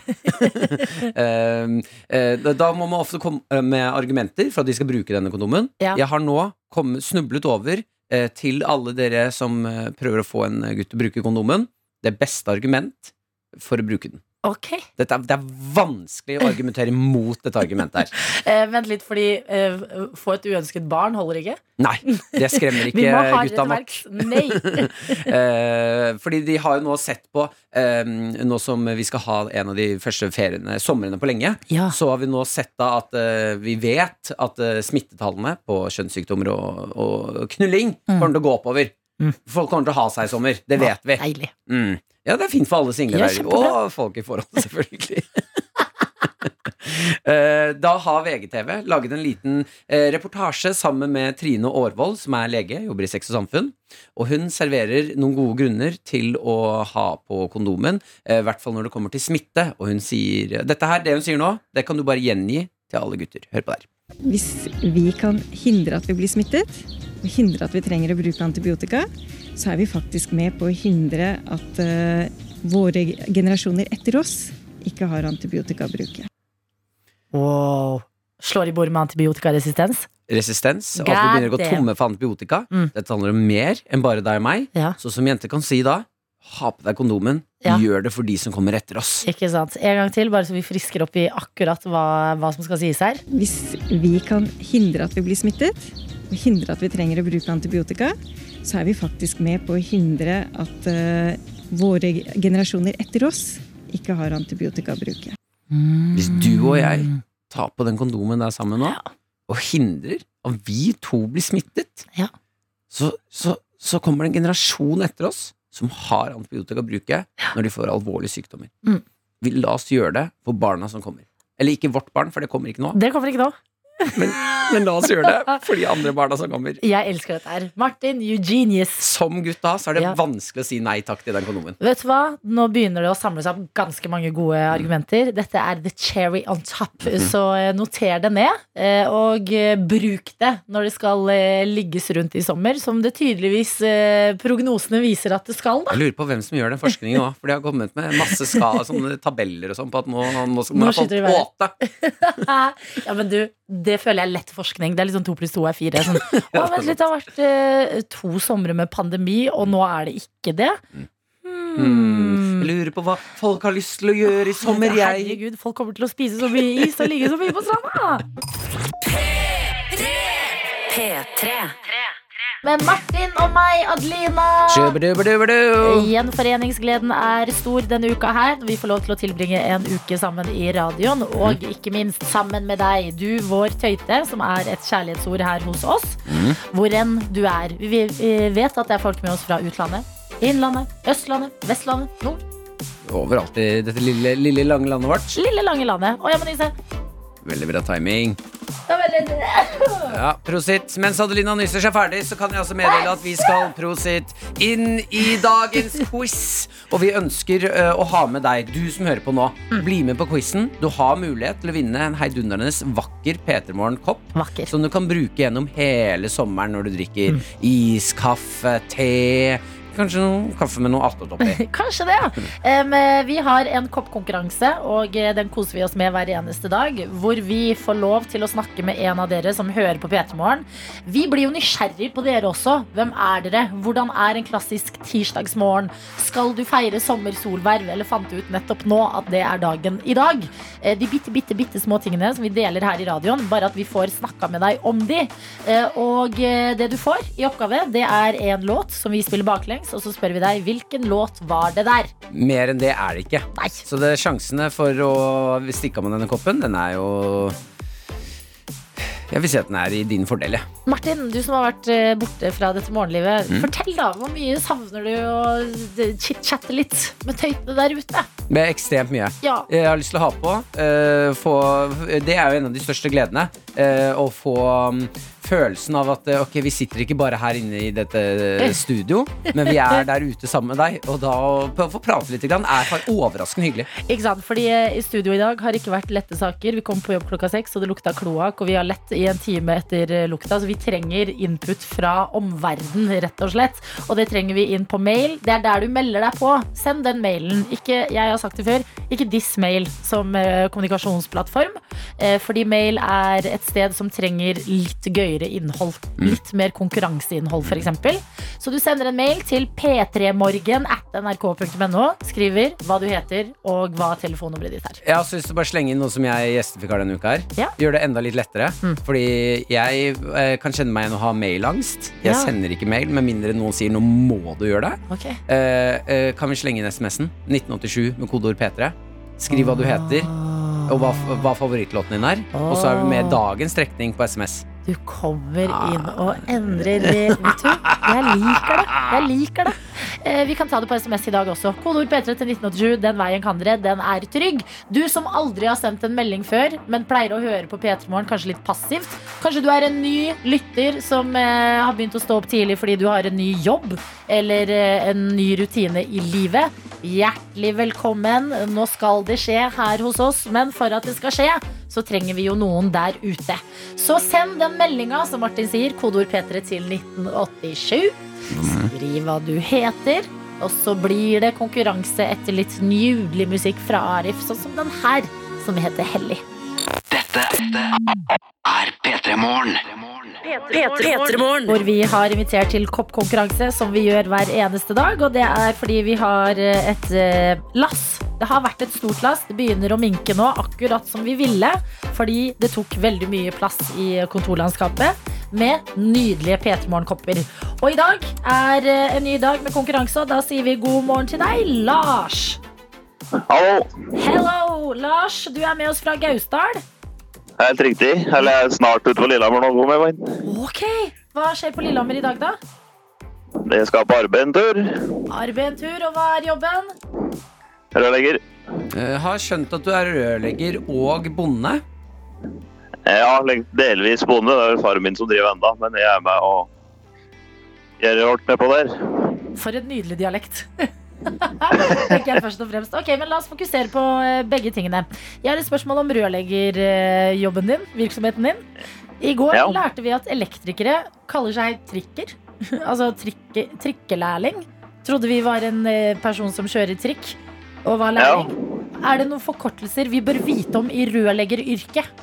Ehm, eh, da- da må man ofte komme eh, med argumenter for at de skal bruke denne kondomen.
Ja.
Jeg har nå kommet, snublet over eh, til alle dere som eh, prøver å få en eh, gutt til å bruke kondomen, det beste argument for å bruke den.
Ok.
Dette er, det er vanskelig å argumentere mot dette argumentet her.
Eh, vent litt, fordi eh, få et uønsket barn holder ikke.
Nei, det skremmer
Vi
ikke
må ha
gutta nok.
rettverks. Nei.
Eh, fordi de har jo nå sett på eh, Nå som vi skal ha en av de første feriene, somrene på lenge,
Ja.
så har vi nå sett da at eh, vi vet at eh, smittetallene på kjønnssykdommer og, og knulling
Mm.
kommer til å gå oppover.
Mm. Ah.
Folk kommer til å ha seg i sommer. Det vet vi.
Deilig.
Mm. Ja, det er fint for alle single
Ja,
der.
kjempebra.
Og folk i forhold, selvfølgelig. Eh, Da har VGTV laget en liten eh, reportasje sammen med Trine Aarvold, som er lege, jobber i Sex og Samfunn. Og hun serverer noen gode grunner til å ha på kondomen, eh, i hvert fall når det kommer til smitte. Og hun sier Dette her, det hun sier nå, det kan du bare gjengi til alle gutter. Hør på der.
Hvis vi kan hindre at vi blir smittet, og hindre at vi trenger å bruke antibiotika, så er vi faktisk med på å hindre at eh, våre generasjoner etter oss ikke har antibiotikabruket.
Wow. Slår i bord med antibiotikaresistens.
Resistens, og at vi
God
begynner å gå
damn.
tomme for antibiotika.
Mm.
Dette handler om mer enn bare deg og meg.
Ja.
Så som jente kan si da Ha på deg kondomen,
Ja.
gjør det for de som kommer etter oss
Ikke sant. En gang til, bare så vi frisker opp i akkurat hva, hva som skal sies her.
Hvis vi kan hindre at vi blir smittet, og hindre at vi trenger å bruke antibiotika, så er vi faktisk med på å hindre at eh, våre generasjoner etter oss ikke har antibiotikabruket.
Hvis du og jeg
Mm.
tar på den kondomen der sammen nå Og hindrer at vi to blir smittet
Ja.
så, så, så kommer det en generasjon etter oss Som har antibiotika å bruke Når de får alvorlige sykdommer
Mm.
Vi la oss gjøre det for barna som kommer Eller ikke vårt barn, for det kommer ikke nå
Det kommer ikke nå.
Men, men la oss gjøre det for de andre barna som kommer
Jeg elsker dette her. Martin, you genius.
Som gutt da, så er det
Ja.
vanskelig å si nei takk til den kondomen
Vet du hva? Nå begynner det å samle seg opp ganske mange gode argumenter. Dette er the cherry on top, så eh, noter det ned. eh, Og eh, bruk det når det skal eh, ligges rundt i sommer, som det tydeligvis eh, prognosene viser at det skal. da.
Jeg lurer på hvem som gjør den forskningen nå. For de har kommet med masse ska, sånne tabeller og sånn på at nå, nå skal man
Nå
ha fått
skyter de i været.
åte.
Eh, Ja, men du, Det føler jeg er lett forskning. Det er litt sånn to pluss to er fire. Sånn. Å, vent litt, det har vært eh, to somre med pandemi, og nå er det ikke det.
Hmm. Jeg lurer på hva folk har lyst til å gjøre i sommer, jeg.
Herregud, folk kommer til å spise så mye is og ligge så mye på stranda!
P3.
Men Martin og meg, Adelina
Sjubbedubbedubbedu.
Gjenforeningsgleden er stor denne uka her. Vi får lov til å tilbringe en uke sammen i radioen, og ikke minst sammen med deg. Du, vår tøyte, som er et kjærlighetsord her hos oss. Hvor enn du er. Vi eh, vet at det er folk med oss fra utlandet. Innlandet, Østlandet, Vestlandet, nord.
Overalt i dette lille, lille lange landet vårt.
Lille, lange landet. Å, ja, men Ise,
Veldig bra timing.
Da var det-
Ja, prosit. Mens Adelina nyser seg ferdig, så kan jeg altså meddele at vi skal prosit inn i dagens quiz. Og vi ønsker eh, å ha med deg, du som hører på nå. Bli med på quizen. Du har mulighet til å vinne en heidundrende vakker P3morgen-kopp.
Vakker.
Som du kan bruke gjennom hele sommeren når du drikker is, kaffe, te. Kanskje noe kaffe med noe attåt oppi.
Kanskje det, ja. Em, eh, vi har en koppkonkurranse, og eh, den koser vi oss med hver eneste dag. Hvor vi får lov til å snakke med en av dere som hører på P3 Morgen. Vi blir jo nysgjerrig på dere også. Hvem er dere? Hvordan er en klassisk tirsdagsmorgen? Skal du feire sommersolverv, eller fant du ut nettopp nå at det er dagen i dag? Eh, De bitte, bitte, bitte små tingene som vi deler her i radioen, bare at vi får snakka med deg om de. Eh, Og eh, det du får i oppgave, det er en låt som vi spiller baklengs, og så spør vi deg hvilken låt var det der?
Mer enn det er det ikke.
Nei.
Så det, sjansene for å stikke av med denne koppen, den er jo Jeg vil si at den er i din fordel, jeg.
Martin, du som har vært eh, borte fra dette morgenlivet. Fortell, da. Hvor mye savner du å d- chit-chatte litt med tøytene der ute?
Det er ekstremt mye.
Ja.
Jeg har lyst til å ha på. eh, få, det er jo en av de største gledene. eh, å få mm, følelsen av at eh, ok, vi sitter ikke bare her inne i dette eh, studio, men vi er der ute sammen med deg. Og da å p- få prate litt grann er fa- overraskende hyggelig.
Ikke sant? Fordi eh, i studio i dag har det ikke vært lette saker. Vi kom på jobb klokka seks, og det lukta kloakk. Og vi har lett i en time etter eh, lukta, så vi trenger input fra omverdenen, rett og slett. Og det trenger vi inn på mail. Det er der du melder deg på. Send den mailen. Ikke, jeg har sagt det før, ikke diss mail som eh, kommunikasjonsplattform. eh, Fordi mail er et sted som trenger litt gøyere innhold. Litt mer konkurranseinnhold, f.eks. Så du sender en mail til p3morgen at nrk.no, skriver hva du heter og hva telefonnummeret ditt er.
Jeg har også lyst til å bare slenge inn noe som jeg gjestefikar denne uka her.
Ja.
Gjør det enda litt lettere. Fordi jeg eh, kan kjenne meg igjen å ha mailangst. Jeg
Ja.
sender ikke mail med mindre noen sier 'nå må du gjøre det'. Eh, eh, kan vi slenge inn SMS-en? 1987 med kodeord P3. Skriv hva du heter, og hva, hva favorittlåten din er. Og så er vi med dagens trekning på SMS.
Du kommer inn og endrer det. Vet du, jeg liker det. Jeg liker det. Eh, Vi kan ta det på SMS i dag også. Kodeord P3 til 1987. Den veien kan dere. Den er trygg. Du som aldri har sendt en melding før, men pleier å høre på P3 Morgen, kanskje litt passivt. Kanskje du er en ny lytter som eh, har begynt å stå opp tidlig fordi du har en ny jobb eller eh, en ny rutine i livet. Hjertelig velkommen. Nå skal det skje her hos oss, men for at det skal skje, så trenger vi jo noen der ute. Så send den meldinga, som Martin sier, kodeord P3 til 1987. Skriv hva du heter. Og så blir det konkurranse etter litt nydelig musikk fra Arif, sånn som den her, som heter Hellig.
Dette er P3 Morgen.
P3morgen.
Hvor vi har invitert til koppkonkurranse, som vi gjør hver eneste dag. Og det er fordi vi har eh, et eh, lass. Det har vært et stort lass. Det begynner å minke nå, akkurat som vi ville. Fordi det tok veldig mye plass i kontorlandskapet med nydelige P3 Morgen-kopper. Og i dag er eh, en ny dag med konkurranse, og da sier vi god morgen til deg, Lars.
Hallo,
Hello, Lars. Du er med oss fra Gausdal.
helt riktig. Eller jeg er snart ute på Lillehammer nå, god med vann.
Ok. Hva skjer på Lillehammer i dag, da?
Det skal på arbeid en tur.
Arbeid en tur, og hva er jobben?
Rørlegger.
Eh, har skjønt at du er rørlegger og bonde.
Ja, leg- delvis bonde. Det er jo faren min som driver enda, men jeg er med og gjør hårdt nedpå der.
For en nydelig dialekt. Tenker jeg først og fremst. Ok, men La oss fokusere på eh, begge tingene. Jeg har et spørsmål om rørleggerjobben din. virksomheten din. I går
Ja.
lærte vi at elektrikere kaller seg trikker. altså trikke, trikkelærling. Trodde vi var en eh, person som kjører trikk og var
Ja.
lærling. Er det noen forkortelser vi bør vite om i rørleggeryrket?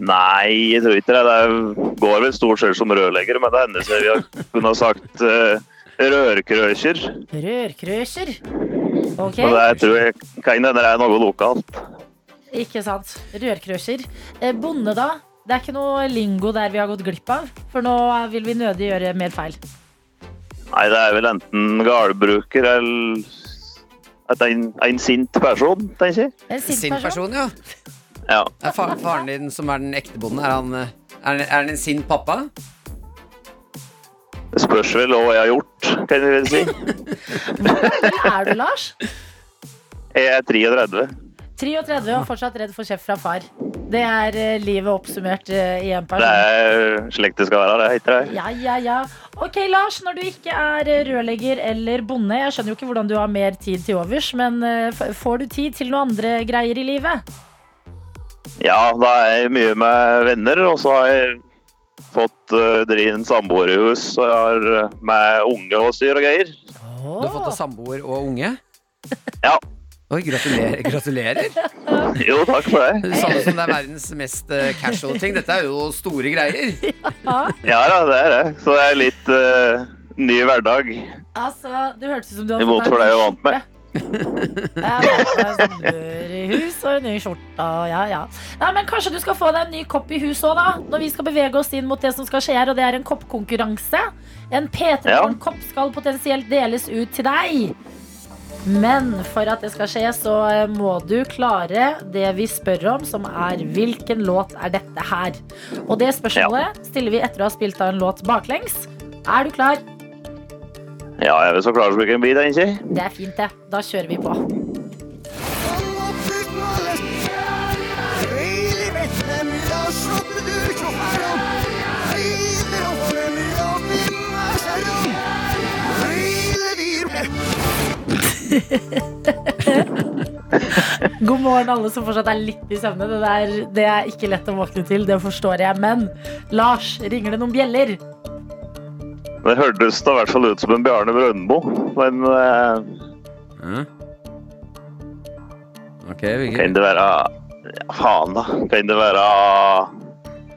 Nei, jeg tror ikke det. Det er- går vel stort sett som rørlegger, men det hender seg vi har kunnet sagt uh, rørkrøkjer.
Rørkrøsjer. Ok.
Men det er- tror jeg kan hende det er noe lokalt.
Ikke sant. Rørkrøsjer. Eh, bonde, da? Det er ikke noe lingo der vi har gått glipp av. For nå eh, vil vi nødig gjøre mer feil.
Nei, det er vel enten gardbruker eller at en, en sint person, tenker jeg.
En sint,
Sint
person.
person, ja.
Ja.
Det er fa faren din som er den ekte bonden. Er han, eh, er, han- er han en sint pappa?
Det spørs vel hva jeg har gjort, kan jeg vel si.
Hvor er du, Lars?
Jeg er 33.
33 og fortsatt redd for kjeft fra far. Det er eh, livet oppsummert eh, i en
Det
person.
er slik det skal være, det heter det.
Ja, ja, ja. Ok, Lars, når du ikke er eh, rørlegger eller bonde Jeg skjønner jo ikke hvordan du har mer tid til overs, men eh, f- får du tid til noen andre greier i livet?
Ja, da er jeg mye med venner, og så har jeg fått uh, drive en samboerhus og jeg har eh, med unge og styr og greier.
Du har fått deg samboer og unge?
Ja.
Oi, gratulerer. gratulerer.
Jo, takk for det.
Det Samme som det er verdens mest eh, casual ting. Dette er jo store greier.
Ja da, det er det. Så det er litt eh, ny hverdag.
Altså, det hørtes ut som du
I mot for det jeg er vant med.
Ja, det er sommer i hus og en ny skjorte og ja, ja. Nei, men kanskje du skal få deg en ny kopp i hus òg, da. Når vi skal bevege oss inn mot det som skal skje her, og det er en koppkonkurranse. En P3-kopp skal potensielt deles ut til deg. Men for at det skal skje, så eh, må du klare det vi spør om, som er hvilken låt er dette her? Og det spørsmålet stiller vi etter å ha spilt av en låt baklengs. Er du klar?
Ja, jeg er så klar som jeg kan bli, det, ikke?
Det er fint, det. Da kjører vi på. God morgen, alle som fortsatt er litt i søvne. Det, der, det er ikke lett å våkne til, det forstår jeg. Men Lars, ringer det noen bjeller?
Det hørtes da i hvert fall ut som en Bjarne Brøndbo, men eh,
Ja. Ok,
Kan
Vigge.
det være ja, Faen, da. Kan det være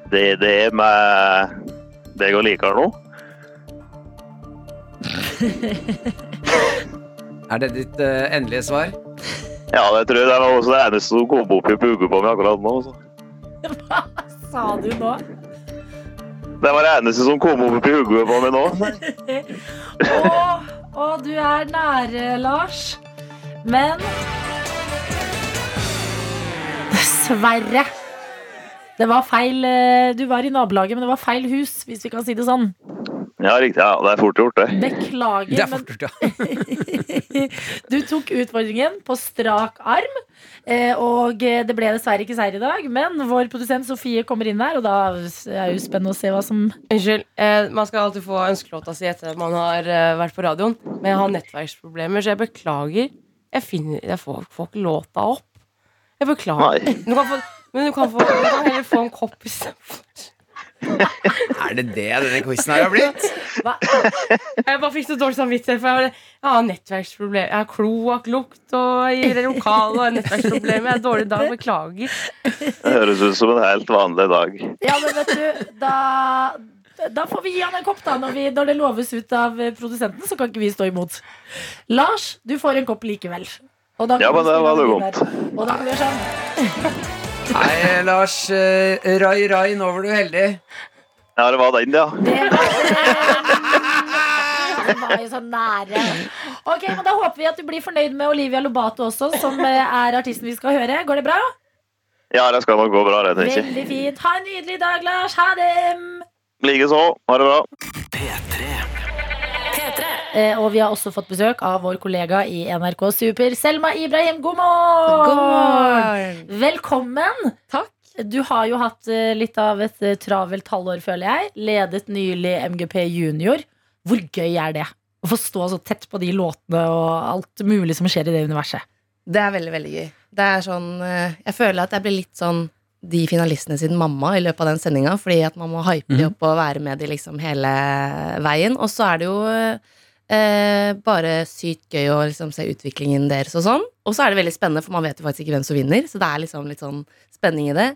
det det er med deg og liker nå?
Er det ditt eh, endelige svar?
Ja, det tror jeg det er også det eneste som kom opp i puget på meg akkurat nå. altså. Så.
Sa du nå?
Det var det eneste som kom opp i hodet på meg nå.
Å, å, du er nære, Lars. Men Dessverre. Det var feil eh, Du var i nabolaget, men det var feil hus, hvis vi kan si det sånn.
Ja, riktig. Ja, det er fort gjort, det.
Det
Beklager,
er
men
fort gjort, ja.
Du tok utfordringen på strak arm, eh, og det ble dessverre ikke seier i dag. Men vår produsent Sofie kommer inn her, og da er det jo spennende å se hva som
Unnskyld. Eh, man skal alltid få ønskelåta si etter at man har eh, vært på radioen. Men jeg har nettverksproblemer, så jeg beklager. Jeg, finner, jeg får, får ikke låta opp. Jeg beklager.
Nei.
Du kan få, men du kan, få, du kan heller få en kopp i stedet.
Er det det denne quizen her har blitt?
Hva? Jeg bare fikk så dårlig samvittighet. For jeg, bare, jeg har nettverksproblemer. Jeg har kloakklukt og i det lokale og nettverksproblemer. Jeg har dårlig dag. Beklager.
Det høres ut som en helt vanlig dag.
Ja, men vet du, da da får vi gi han en kopp, da. Når, vi, når det loves ut av eh, produsenten, så kan ikke vi stå imot. Lars, du får en kopp likevel. Og da kan
Ja,
vi
men det
spille
var
den
jo
inn
vondt.
der. Og da kan vi gjøre sånn.
Nei, Lars. eh, rai, rai, nå var du heldig.
Ja, det var den, ja.
Det var- Det var jo så nære. Ok, men Da håper vi at du blir fornøyd med Olivia Lobato også, som eh, er artisten vi skal høre. Går det bra?
Ja, det skal nok gå bra, det, tenker jeg.
Veldig fint. Ha en nydelig dag, Lars. Ha det.
Likeså. Ha det bra.
Eh, Og vi har også fått besøk av vår kollega i NRK Super, Selma Ibrahim. God morgen! Velkommen.
Takk.
Du har jo hatt eh, litt av et eh, travelt halvår, føler jeg. Ledet nylig MGP Junior. Hvor gøy er det? Å få stå så tett på de låtene og alt mulig som skjer i det universet.
Det er veldig, veldig gøy. Det er sånn, eh, jeg føler at jeg blir litt sånn de finalistene sin mamma i løpet av den sendinga, fordi at man må hype de opp og være med de liksom hele veien. Og så er det jo eh, bare sykt gøy å liksom se utviklingen deres og sånn. Og så er det veldig spennende, for man vet jo faktisk ikke hvem som vinner, så det er liksom litt sånn spenning i det.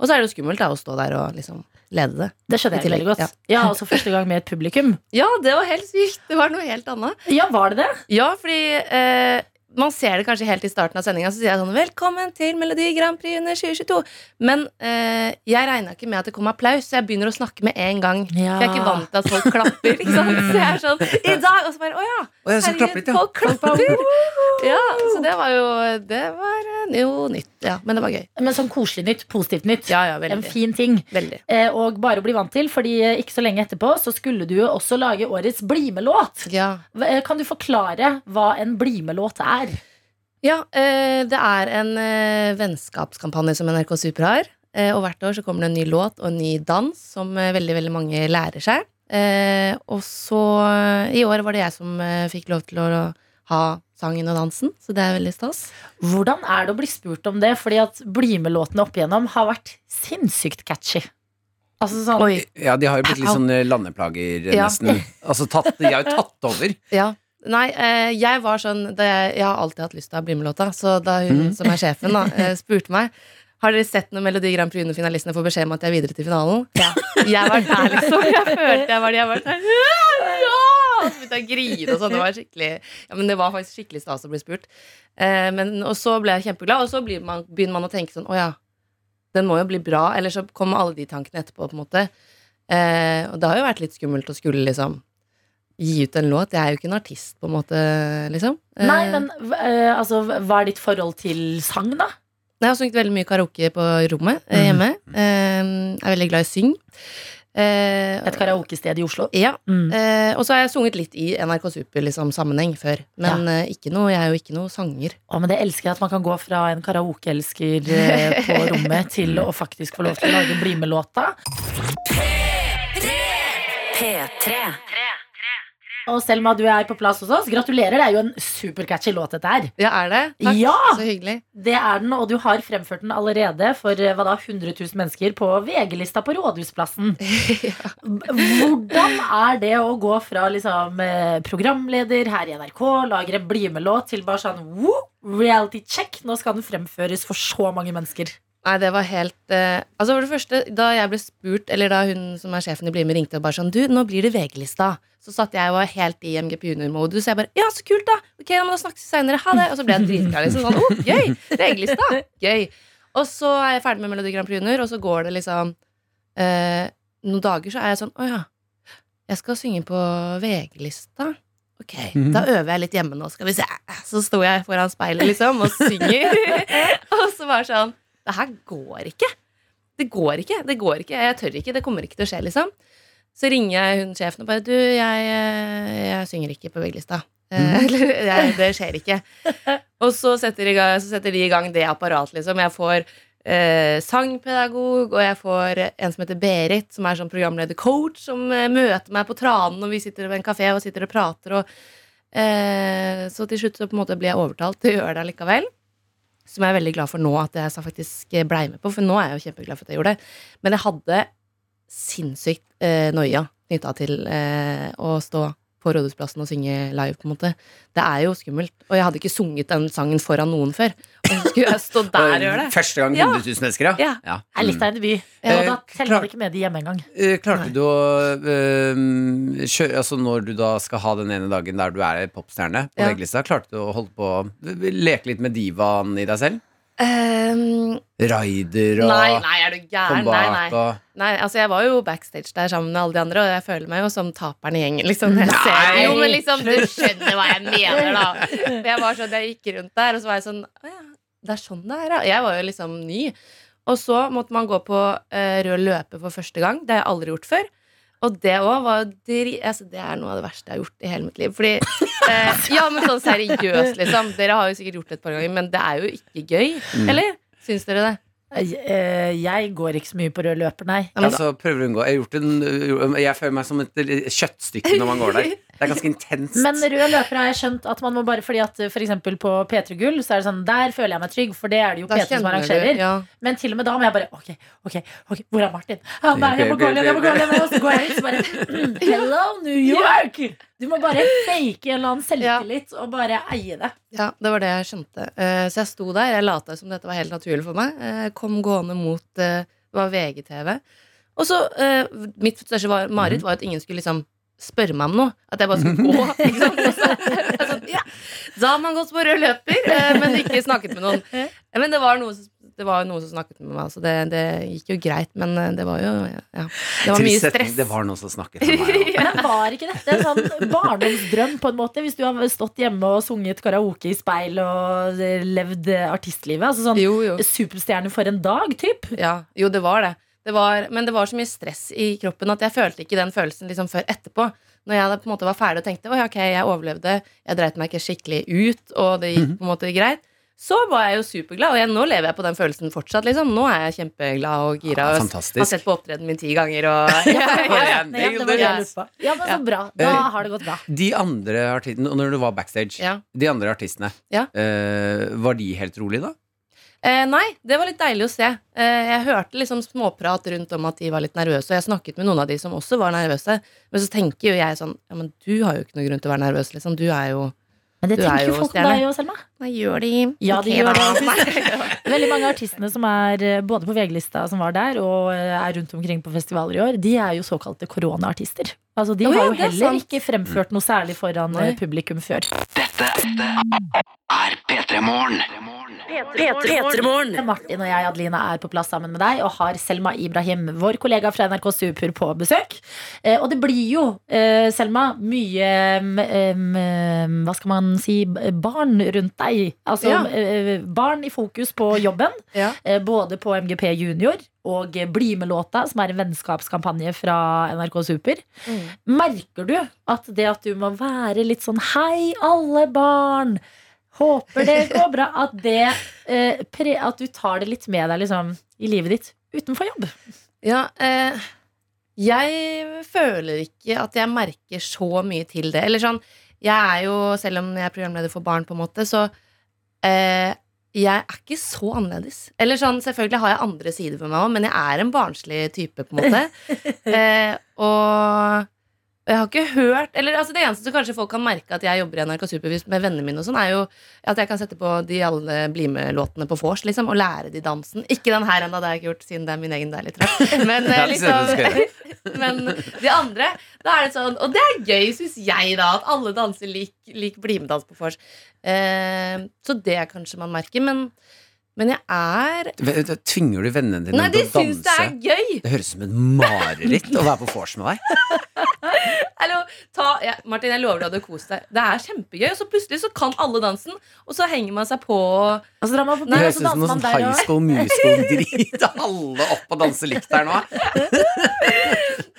Og så er det jo skummelt da, å stå der og liksom lede det.
Det skjønner
I
jeg veldig
tillegg,
godt. Ja. altså Første gang med et publikum.
Ja, det var helt sykt! Det var noe helt annet.
Ja, var det det?
Ja, fordi eh, man ser det kanskje helt i starten av sendinga, så sier jeg sånn Velkommen til Melodi Grand Prix under 2022. Men eh, jeg regna ikke med at det kom applaus, så jeg begynner å snakke med en gang.
Ja.
For jeg er ikke vant til at folk klapper. Ikke sant? Så jeg er sånn I dag! Og så bare Å ja!
Og jeg skal klappe litt, ja.
folk klapper! Ja, så det var jo Det var eh, jo nytt. Ja, men det var gøy.
Men sånn koselig nytt. Positivt nytt.
Ja, ja,
en
veldig.
fin ting.
Veldig.
Eh, Og bare å bli vant til, Fordi eh, ikke så lenge etterpå så skulle du jo også lage årets BlimE-låt.
Ja.
Hva- eh, Kan du forklare hva en BlimE-låt er?
Ja, eh, det er en eh, vennskapskampanje som NRK Super har. Eh, Og hvert år så kommer det en ny låt og en ny dans som eh, veldig, veldig mange lærer seg. Eh, og så eh, i år var det jeg som eh, fikk lov til å ha sangen og dansen, så det er veldig stas.
Hvordan er det å bli spurt om det? Fordi at BlimE-låtene opp igjennom har vært sinnssykt catchy. Altså sånn
Oi,
Ja, de har jo blitt litt
Au.
sånn eh, landeplager, eh,
Ja.
nesten. Altså, tatt, de har jo tatt over.
ja. Nei, eh, jeg var sånn da jeg, jeg har alltid hatt lyst til å ha BlimE-låta, så da hun som er sjefen, da, eh, spurte meg har dere sett når Melodi Grand Prix under finalistene får beskjed om at de er videre til finalen? Jeg var der, liksom. Jeg følte jeg var der. Jeg var der. sånn, Ja! Og så begynte jeg å grine og sånn. Det var skikkelig Ja, men det var faktisk skikkelig stas å bli spurt. Eh, men, og så ble jeg kjempeglad, og så blir man, begynner man å tenke sånn Å ja, den må jo bli bra. Eller så kommer alle de tankene etterpå, på en måte. Eh, og det har jo vært litt skummelt å skulle liksom gi ut en låt. Jeg er jo ikke en artist, på en måte, liksom. Eh,
Nei, men eh, altså, hva er ditt forhold til sang, da?
Jeg har sunget veldig mye karaoke på rommet eh, hjemme. Eh, jeg er veldig glad i å synge. Eh,
Et karaokested i Oslo?
Ja.
Mm.
Eh, og så har jeg sunget litt i NRK Super liksom, sammenheng før. Men eh, ikke noe, jeg er jo ikke noe sanger.
Å, men det elsker jeg at man kan gå fra en karaokeelsker eh, på rommet til å faktisk få lov til å lage BlimE-låta.
P3.
Og Selma, du er på plass hos oss. Gratulerer, det er jo en supercatchy låt dette her.
Ja, er det? Takk.
Ja!
Så hyggelig.
Det er den, og du har fremført den allerede for eh, hva da, 100 000 mennesker på VG-lista på Rådhusplassen. B- Hvordan er det å gå fra liksom, eh, programleder her i NRK, lager en BlimE-låt, til bare sånn woo, reality check, nå skal den fremføres for så mange mennesker.
Nei, det var helt eh, Altså For det første, da jeg ble spurt, eller da hun som er sjefen i BlimE ringte og bare sånn Du, nå blir det VG-lista. Så satt jeg og var helt i MGP Junior-modus. Jeg bare Ja, så kult, da! Ok, ja, men da snakkes vi seinere. Ha det! Og så ble jeg dritglad. Liksom sånn Å, gøy! VG-lista! Gøy. Og så er jeg ferdig med Melodi Grand Prix Junior, og så går det liksom eh, Noen dager så er jeg sånn Å ja, jeg skal synge på VG-lista. Ok, da øver jeg litt hjemme nå, skal vi se. Så sto jeg foran speilet, liksom, og synger. og så var jeg sånn det her går ikke. Det går ikke. det går ikke, Jeg tør ikke. Det kommer ikke til å skje, liksom. Så ringer jeg hun sjefen og bare Du, jeg, eh, jeg synger ikke på VG-lista. Eh, Eller jeg, det skjer ikke. Og så setter, i gang, så setter de i gang det apparatet, liksom. Jeg får eh, sangpedagog, og jeg får en som heter Berit, som er sånn programledercoach, som eh, møter meg på tranen når vi sitter ved en kafé og sitter og prater, og eh, Så til slutt så på en måte blir jeg overtalt til å gjøre det allikevel. Som jeg er veldig glad for nå at jeg faktisk eh, blei med på, for nå er jeg jo kjempeglad for at jeg gjorde det. Men jeg hadde sinnssykt eh, noia knytta til eh, å stå på Rådhusplassen og synge live, på en måte. Det er jo skummelt. Og jeg hadde ikke sunget den sangen foran noen før. Og så skulle jeg stå der og gjøre det.
Første gang 100 000 mennesker, ja. Mm.
Ja.
Det er litt av en debut.
Ja.
Mm.
Og
Eh,
da teller
Klart.
man ikke med de hjemme engang.
Eh, Klarte du å eh, kjøre Altså når du da skal ha den ene dagen der du er popstjerne på
Ja.
VG-lista, klarte du å holde på leke litt med divaen i deg selv?
Ehm,
Raider og
nei, nei, er du
kom
gæren? Nei,
bak
nei.
og
Nei, altså jeg var jo backstage der sammen med alle de andre, og jeg føler meg jo som taperen i gjengen. Liksom. Jeg ser, jo, men liksom, du skjønner hva jeg mener, da. For jeg var sånn, jeg gikk rundt der, og så var jeg sånn Å ja, det er sånn det er, ja. Jeg var jo liksom ny. Og så måtte man gå på eh, rød løper for første gang. Det har jeg aldri gjort før. Og det òg var jo dri... Altså, det er noe av det verste jeg har gjort i hele mitt liv. Fordi eh, Ja, men sånn seriøst, liksom. Dere har jo sikkert gjort det et par ganger, men det er jo ikke gøy.
Mm.
Eller? Syns dere det?
Jeg, eh, jeg går ikke så mye på rød løper, nei.
Ja, men da-
altså, prøver å unngå Jeg, har gjort en, jeg føler meg som et kjøttstykke når man går der. Det er ganske intenst.
Men rød løper har jeg skjønt at man må bare fordi at eh, for eksempel på P3 Gull, så er det sånn der føler jeg meg trygg, for det er det jo
Da
P3 som
kjenner du-
arrangerer.
Ja.
Men til og med da må jeg bare Ok, ok, ok, hvor er Martin? Han er jeg må gå igjen, jeg må gå igjen. Og så går jeg ut, så bare Hello, New York! Du må bare fake en eller annen selvtillit og bare eie det.
Ja, det var det jeg skjønte. Eh, så jeg sto der, jeg lata som dette var helt naturlig for meg. Eh, kom gående mot eh, Det var VGTV. Og så eh, Mitt største var, mareritt var at ingen skulle liksom spørre meg om noe. At jeg bare skulle gå. Ikke sant? Og så- jeg er sånn, ja. Da har man gått på rød løper, eh, men ikke snakket med noen. Eh, Men det var noen som det var jo noen som snakket med meg, så det, det gikk jo greit. Men eh, det var jo ja. Det var mye
Trist setning.
stress.
Det var noen som snakket om meg. også.
Men var ikke dette en sånn barndomsdrøm, på en måte? Hvis du har stått hjemme og sunget karaoke i speil og eh, levd eh, artistlivet? Altså sånn
Jo, jo.
superstjerne for en dag, typ?
Ja, jo, det var det. det var, men det var så mye stress i kroppen at jeg følte ikke den følelsen liksom før etterpå. Når jeg da på en
Mhm.
måte var ferdig og tenkte «Oi, ok, jeg overlevde, jeg dreit meg ikke skikkelig ut, og det gikk på en måte greit, så var jeg jo superglad. Og jeg, nå lever jeg på den følelsen fortsatt. Liksom. Nå er jeg kjempeglad og gira.
Ja,
og
fantastisk.
Har sett på opptredenen min ti ganger. Og,
Ja, det var det jeg lurte på. Ja, men så bra. Da
Eh,
har det gått bra.
De andre artistene, og når du var backstage,
Ja.
de andre artistene,
Ja.
eh, var de helt rolig da?
Eh, nei, det var litt deilig å se. Eh, jeg hørte liksom småprat rundt om at de var litt nervøse, og jeg snakket med noen av de som også var nervøse. Men så tenker jo jeg sånn Ja, men du har jo ikke noen grunn til å være nervøs, liksom. Du er jo
Men det
Du er
tenker
jo
folk om
stjerne.
deg jo, Selma.
Nei, gjør de
Ja, de
Ok,
gjør
da.
Veldig mange av artistene som er eh, både på VG-lista som var der, og eh, er rundt omkring på festivaler i år, de er jo såkalte koronaartister. Altså, de
Å,
har
ja,
jo
det er
heller
sant.
ikke fremført noe særlig foran eh, publikum før.
Dette er P3 Morgen.
P3morgen.
Martin og jeg, Adelina, er på plass sammen med deg og har Selma Ibrahim, vår kollega fra NRK Super, på besøk. Eh, og det blir jo, eh, Selma, mye mm, mm, Hva skal man si b- barn rundt deg. Altså
Ja.
eh, barn i fokus på jobben.
Ja.
eh, både på MGP Junior og eh, Bli med-låta, som er en vennskapskampanje fra NRK Super.
Mm.
Merker du at det at du må være litt sånn Hei, alle barn! Håper det går bra. At, det, eh, pre, at du tar det litt med deg liksom, i livet ditt utenfor jobb.
Ja, eh, jeg føler ikke at jeg merker så mye til det. Eller sånn, jeg er jo, selv om jeg er programleder for barn, på en måte, så eh, jeg er ikke så annerledes. Eller sånn, selvfølgelig har jeg andre sider ved meg òg, men jeg er en barnslig type, på en måte. Eh, og og jeg har ikke hørt eller altså Det eneste som kanskje folk kan merke at jeg jobber i NRK Supervis med vennene mine, og sånn, er jo at jeg kan sette på de alle BlimE-låtene på vors liksom, og lære de dansen. Ikke den her ennå, det har jeg ikke gjort, siden det er min egen deilige trapp. Men, eh,
Ja, det ser ut som du skal
liksom, men de andre da er det sånn, Og det er gøy, syns jeg, da, at alle danser lik, lik BlimE-dans på vors. Eh, så det kanskje man merker. Men, men jeg er
Vet du, Tvinger du vennene dine
Nei, de
til å
syns det
danse?
er gøy!
Det høres ut som et mareritt å være på vors med deg.
Hallo, ta, ja, Martin, jeg lover deg at du koser deg. Det er kjempegøy. Og så plutselig så kan alle dansen, og så henger man seg på. og-
Og så drar Altså, man på
Det
byen, og
høres
så
ut som
danser
noe
man
sånn
der
high
også.
school musical-drit. Alle opp og danser likt her nå.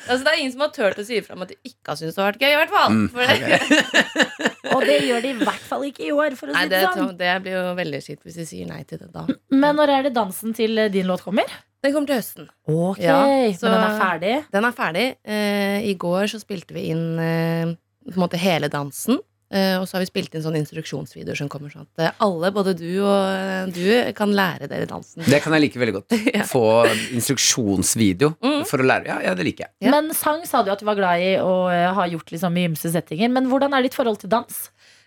Altså, det er ingen som har turt å si ifra om at de ikke har syntes det har vært gøy. I hvert fall.
Mm.
For det,
Og det gjør de i hvert fall ikke i år, for å
nei,
si det
det,
sånn.
det blir jo veldig skitt hvis de sier nei til det da.
Men når er det dansen til eh, din låt kommer?
Den kommer til høsten.
Ok,
Ja, så-
Men den er ferdig?
Den er ferdig. Eh, I går så spilte vi inn eh, på en måte hele dansen. Eh, og så har vi spilt inn sånne instruksjonsvideoer som kommer sånn at eh, alle, både du og eh, du, kan lære dere dansen.
Det kan jeg like veldig godt.
Ja.
Få instruksjonsvideo
Mm.
for å lære. Ja, ja, det liker jeg.
Ja.
Men sang sa du at du var glad i og eh, har gjort liksom i ymse settinger. Men hvordan er ditt forhold til dans?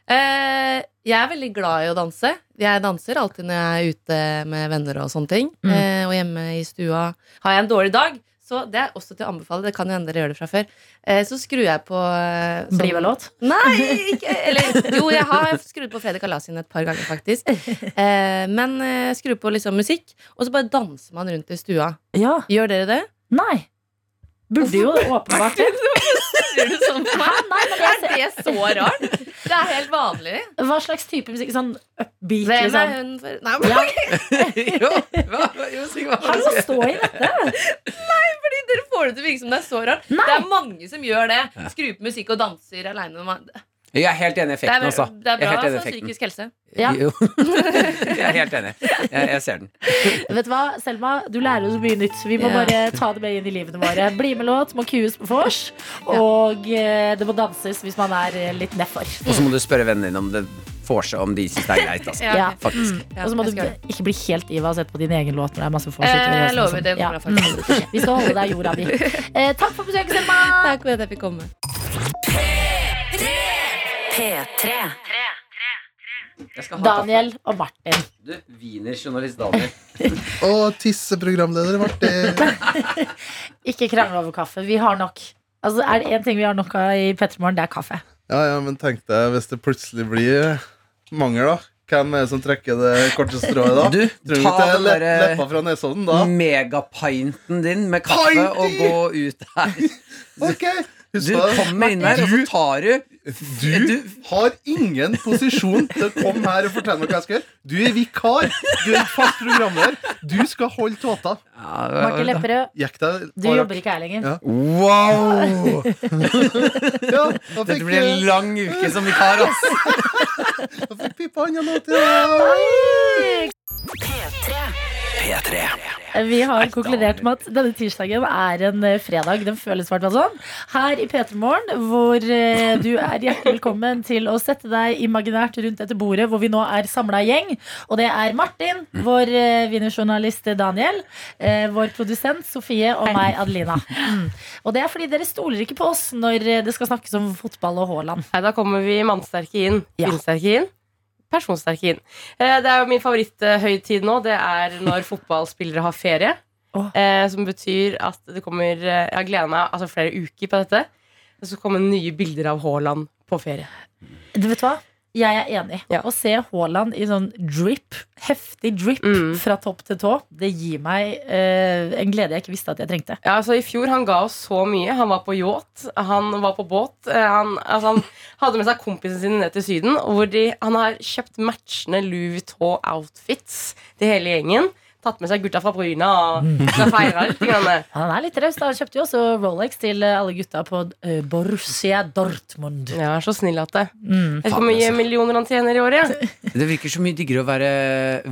Eh, jeg er veldig glad i å danse. Jeg danser alltid når jeg er ute med venner og sånne ting.
Mm.
Eh, og hjemme i stua har jeg en dårlig dag. Så det er også til å anbefale. Det kan jo hende dere gjør det fra før. Eh, så skrur jeg på eh, sånn-
Bli med låt?
Nei! Ikke, eller jo, jeg har skrudd på Fredrik Alasin et par ganger, faktisk. Eh, men eh, skru på liksom musikk, og så bare danser man rundt i stua.
Ja.
Gjør dere det?
Nei. Burde jo åpenbart det.
Gjør du sånn på
Hæ?
meg?
Nei, men jeg
Er det så rart? Det er helt vanlig.
ser Hva slags type musikk? Sånn upbeat,
Hvem er
liksom?
hun for Nei,
Ja,
jo, hva, jo, si hva
har noe å stå i dette.
Dere får det til å virke som det er så rart. Det er mange som gjør det. Skrur på musikk og danser aleine. Det,
Jeg er helt enig i
er
effekten,
vel-
altså.
det er
Jeg er
bra
helt enig i
for
effekten.
psykisk helse.
Ja.
Jo. jeg er helt enig. Jeg, jeg ser den.
Vet du hva, Selma? Du lærer jo så mye nytt. Vi må
Ja.
bare ta det med inn i livene våre. Bli med låt, må kues på vors. Og eh, det må danses hvis man er eh, litt nedfor.
Og så må du spørre vennene dine om det får seg om de syns det er greit. Altså.
Ja.
Faktisk.
Ja, Mm.
Og så må du
jeg skal gjøre det.
ikke bli helt iva og sette på din egen låt når det er masse vors.
Eh, jeg
utover og
lover,
sånn.
det går
Ja.
bra, faktisk.
Vi skal holde deg i jorda, vi. Eh, takk for besøket, Selma.
Takk for at jeg fikk komme.
P3.
Jeg skal ha
Daniel og Martin.
kaffe. Du, Wienerjournalist Daniel.
Og tisseprogramleder Martin.
Ikke krangle over kaffe. Vi har nok. Altså, er det én ting vi har nok av i Petremorgen, det er kaffe.
Ja, ja, men tenk deg hvis det plutselig blir mangel, da. Hvem er det som trekker det korte strået da?
Du,
Tror du
ta
ikke det er
den
le-
derre- Mm.
leppa fra Nesodden da?
Megapinten din med kaffe
Pinty!
og gå ut her.
Ok, Husk
Du
på det.
kommer inn her, og så tar du
Du, har ingen posisjon til å komme her og fortelle meg hva jeg skal gjøre. Du er vikar. Du er fast programleder. Du skal holde tåta.
Martin Lepperød,
Gikk det
du jobber ikke her lenger.
Ja.
Wow!
Ja, da fikk,
Dette blir en lang uke som vikar, ass.
da fikk pipa han og låt, ja.
P3.
Eh, Vi har konkludert med at denne tirsdagen er en eh, fredag. Den føles hvert fall sånn. Her i P3 Morgen, hvor eh, du er hjertelig velkommen til å sette deg imaginært rundt dette bordet, hvor vi nå er samla gjeng. Og det er Martin, vår eh, wienerjournalist Daniel, eh, vår produsent Sofie og meg, Adelina. Mm. Og det er fordi dere stoler ikke på oss når eh, det skal snakkes om fotball og Haaland.
Nei, da kommer vi mannsterke inn,
Ja.
kvinnesterke inn, personsterke inn. Eh, Det er jo min favoritthøytid nå. Det er når fotballspillere har ferie.
Åh.
Eh, som betyr at det kommer eh, Jeg gleder meg altså, flere uker på dette. Det skal komme nye bilder av Haaland på ferie.
Du vet hva? Jeg er enig.
Ja.
Å se Haaland i sånn drip, heftig drip
Mm.
fra topp til tå, det gir meg eh, en glede jeg ikke visste at jeg trengte.
Ja, altså I fjor han ga oss så mye. Han var på yacht, han var på båt. eh, Han, altså, han hadde med seg kompisene sine ned til Syden. og Hvor de, han har kjøpt matchende Louis Vuitton-outfits til hele gjengen. Tatt med seg gutta fra Bryna og
Mm.
skal feire litt. Grann.
Han er litt raus. da. Han kjøpte jo også Rolex til eh, alle gutta på eh, Borussia Dortmund.
Ja, er så snill at det.
Mm.
Jeg vet ikke hvor
altså.
mye millioner han tjener i året. Ja.
Det virker så mye diggere å være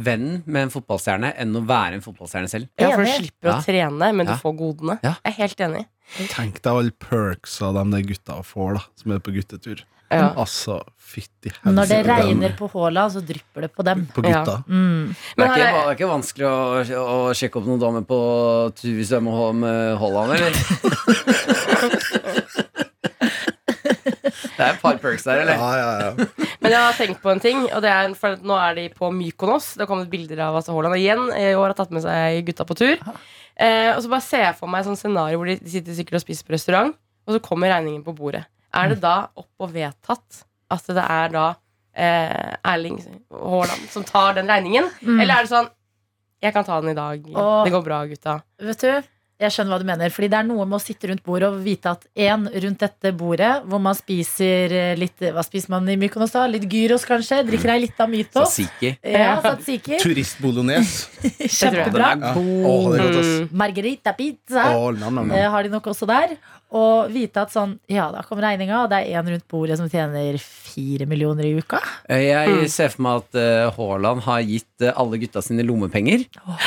venn med en fotballstjerne enn å være en fotballstjerne selv.
Ja, for du
Enig.
slipper
Ja.
å trene, men du
Ja.
får godene.
Ja.
Jeg er helt enig.
Tenk deg alle perks av de der gutta får, da, som er på guttetur.
Ja.
Altså, fytti
Når det
helsike,
regner på Haaland, så drypper det på dem.
dem på gutta.
Mm.
Det er,
Men her
ikke,
er,
det er ikke vanskelig å, å sjekke opp noen damer på tur hvis du er med H- med Haaland, eller? Det er et par perks der, eller?
Ja, ja, ja.
Men jeg har tenkt på en ting, og det er for at nå er de på Mykonos. Det har kommet bilder av altså, Haaland igjen. I år har tatt med seg gutta på tur. Eh, og så bare ser jeg for meg et sånt scenario hvor de sitter sikkert og spiser på restaurant, og så kommer regningen på bordet.
Mm.
Er det da opp og vedtatt at det er da eh, Erling Haaland som tar den regningen?
Mm.
Eller er det sånn Jeg kan ta den i dag.
Åh.
Det går bra, gutta.
Vet du, jeg skjønner hva du mener. Fordi det er noe med å sitte rundt bordet og vite at én rundt dette bordet, hvor man spiser eh, litt Hva spiser man i Mykonos da? Litt gyros, kanskje? Drikker ei lita mytos?
Tzatziki.
Ja, tzatziki.
Turistbolognese.
tror
Kjempebra.
Den er
Ja.
god.
Å, det er godt, ass.
Mm.
Margarita pizza.
Å, nam, nam, nam.
Eh, har de nok også der. Og vite at sånn, ja, da kom regninga, og det er én rundt bordet som tjener fire millioner i uka.
Eh, Jeg ser for meg at eh, Haaland har gitt eh, alle gutta sine lommepenger.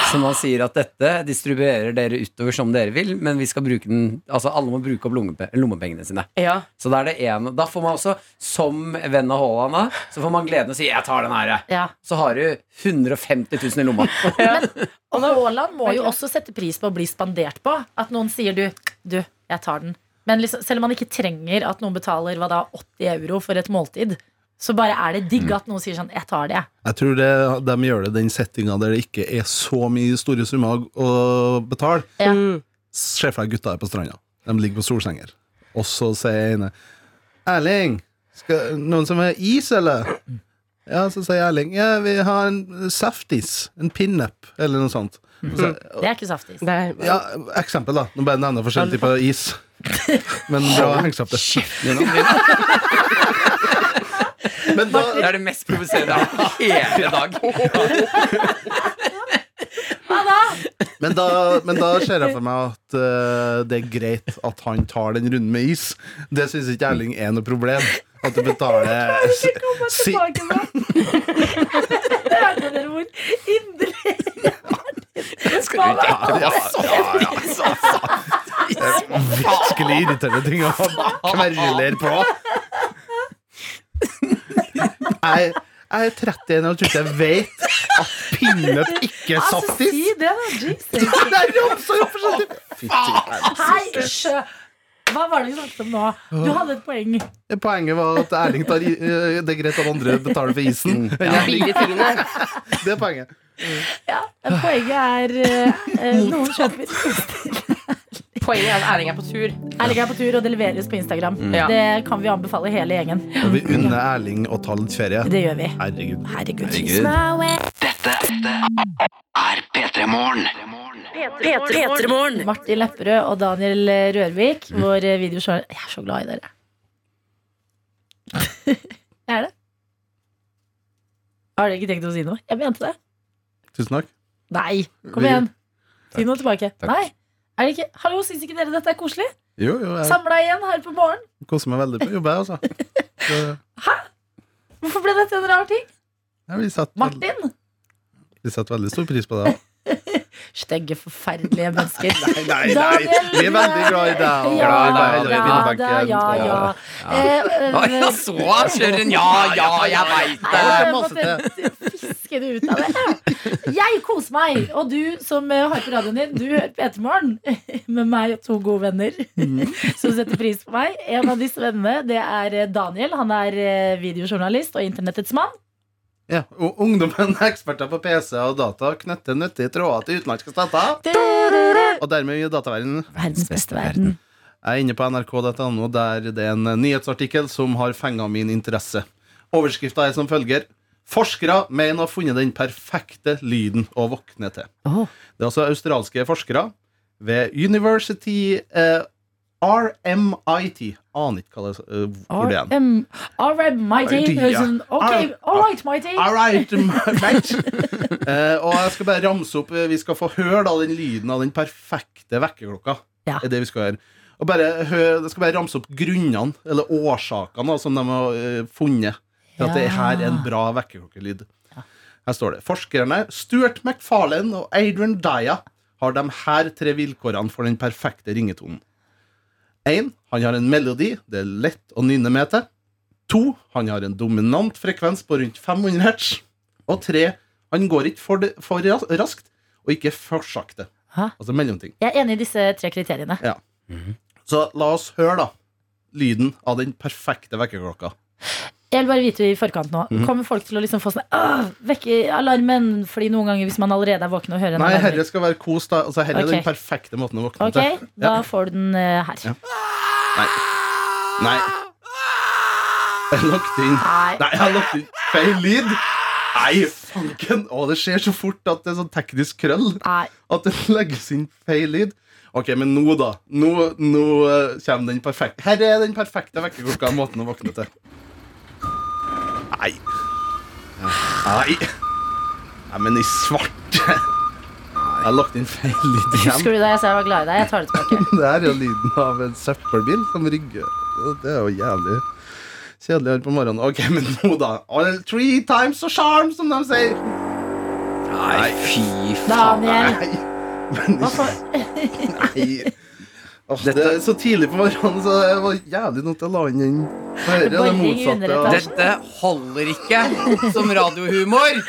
Som han sier at dette distribuerer dere utover som dere vil, men vi skal bruke den Altså alle må bruke opp lommepe lommepengene sine.
Ja.
Så da er det en Da får man også, som venn av Haaland, da, så får man gleden av å si 'jeg tar den her', jeg».
Ja.
så har du 150 000 i lomma.
Og Haaland må jo også sette pris på å bli spandert på. At noen sier du, du, jeg tar den. Men liksom, selv om man ikke trenger at noen betaler hva da, 80 euro for et måltid, så bare er det
Mm.
digg at noen sier sånn, jeg tar det. jeg».
Jeg tror det, de gjør det i den settinga der det ikke er så mye store summer å betale.
Ja.
Mm.
Se for deg gutta er på stranda. De ligger på solsenger. Og så sier ene Erling, skal, noen som har is, eller? Ja, så sier Erling ja, vi har en saftis. En pinup, eller noe sånt. Og Så,
Det er ikke saftis.
Det er,
ja, eksempel, da. Nå bare nevner jeg forskjellige typer is. Men bra hengsapte. Men da
Det er det mest provoserende jeg har hatt hele dag.
Men da, men da ser jeg for meg at eh, det er greit at han tar den runden med is. Det syns ikke Erling er noe problem. At du betaler si,
Hørte dere hvor inderlig
Skal du ikke
ja, ja, ja. Virkelig irriterende ting å kverulere på. Jeg, jeg er 31 og tror ikke jeg vet at pinnøtt ikke er saftis.
Altså, si det, da? Jesus.
Det er ramsa opp forskjellig.
Hei, hysj! Hva var det vi snakket om nå? Du hadde et poeng.
Poenget var at Erling tar i, eh, det er greit at andre betaler for isen.
de billige tingene.
Det er poenget.
Ja, poenget er eh, eh, noen kjøper.
Poenget er at Erling er på tur.
Erling er på tur, og det leveres på Instagram.
Ja.
Det kan vi anbefale hele gjengen.
Og vi unner Erling å ta litt ferie.
Det gjør vi.
Herregud.
Herregud.
Herregud.
Dette er P3 Morgen.
P3morgen.
Martin Lepperød og Daniel eh, Rørvik, vår videojournalist Jeg er så glad i dere. jeg er det. Har dere ikke tenkt å si noe? Jeg mente det.
Tusen takk.
Nei, kom
Vi-
igjen. Si noe tilbake.
Takk.
Nei. Er det ikke? Hallo, syns ikke dere dette er koselig?
Jo, jo, jeg
Samla igjen her på morgen.
koser meg veldig på jobb, jeg, altså. Så-
Hvorfor ble dette en rar ting?
Ja, vi satt veld-
Martin?
vi satt veldig stor pris på det. også.
Stygge, forferdelige mennesker.
Nei,
Daniel-
Vi er veldig glad i deg.
Ja,
Glad i deg,
ja,
allerede i
ja, da, ja, ja. Eh, eh,
Å, jeg så han kjører en ja, ja, jeg veit
Nei,
det!
jeg
masse
måtte fiske det ut av det. Jeg koser meg, og du som eh, har på radioen din, du hører på Ettermorgen med meg og to gode venner
Mhm.
som setter pris på meg. En av disse vennene, det er eh, Daniel. Han er eh, videojournalist og internettets mann.
Ja, og ungdommen er eksperter på PC og data og knytter nyttige tråder til utenlandske stater. Og dermed gir dataverdenen
Verdens beste verden.
Jeg er inne på nrk.no, der det er en nyhetsartikkel som har fenga min interesse. Overskrifta er som følger. Forskere mener å ha funnet den perfekte lyden å våkne til. Det er altså australske forskere ved University eh, RMIT. Aner ikke hva det eh, hvor det er.
RM, RM, mighty.
Mighty, ja.
Sånn, Ok, all right, mighty.
All right, mate. Eh, og jeg skal bare ramse opp eh, Vi skal få høre da, den lyden av den perfekte vekkerklokka.
Ja.
Er det vi skal gjøre. Og bare hø- jeg skal bare ramse opp grunnene, eller årsakene, da, som de har eh, funnet til at det her er en bra vekkerklokkelyd. Her står det forskerne Stuart McFarlane og Adrian Daya har de her tre vilkårene for den perfekte ringetonen. 1. Han har en melodi det er lett å nynne med til. 2. Han har en dominant frekvens på rundt 500 hertz. Og 3. Han går ikke for, det, for ras- raskt, og ikke for sakte.
Hæ?
Altså mellomting.
Jeg er enig i disse tre kriteriene.
Så la oss høre, da. Lyden av den perfekte vekkerklokka.
Jeg vil bare vite i forkant nå.
Mhm.
Kommer folk til å liksom få sånn «Åh, Vekke alarmen! Fordi noen ganger hvis man allerede er våken og hører en
Nei,
alarm
herre skal være kos, da. Altså, herre er
Ok.
den perfekte måten å våkne
Ok, da får du den eh, her.
Ja. til. Nei. Jeg lagt inn
Nei.
Nei, jeg har lagt inn feil lyd. Nei, fanken! Å, det skjer så fort at det er sånn teknisk krøll.
Nei.
At det legges inn feil lyd. Ok, men nå, da. Nå, nå eh, kommer den perfekte Her er den perfekte vekkerklokka. Måten å våkne til. Nei. Nei. Nei, men i svarte Jeg har lagt inn feil lyd igjen.
Husker du da jeg sa jeg var glad i deg? Jeg tar det tilbake.
Det her er jo lyden av en søppelbil som rygger. Det er jo jævlig kjedelig her på morgenen. Ok, men nå, da. All three times a charm, som de sier.
Nei, fy faen.
Daniel!
Nei. Men
Hva for?
Nei. Åh, det er så tidlig på morgenen, så det var jævlig noe til å la inn den. Hører jeg det
Boring i
motsatte.
underetasjen.
av-
Dette holder ikke som radiohumor!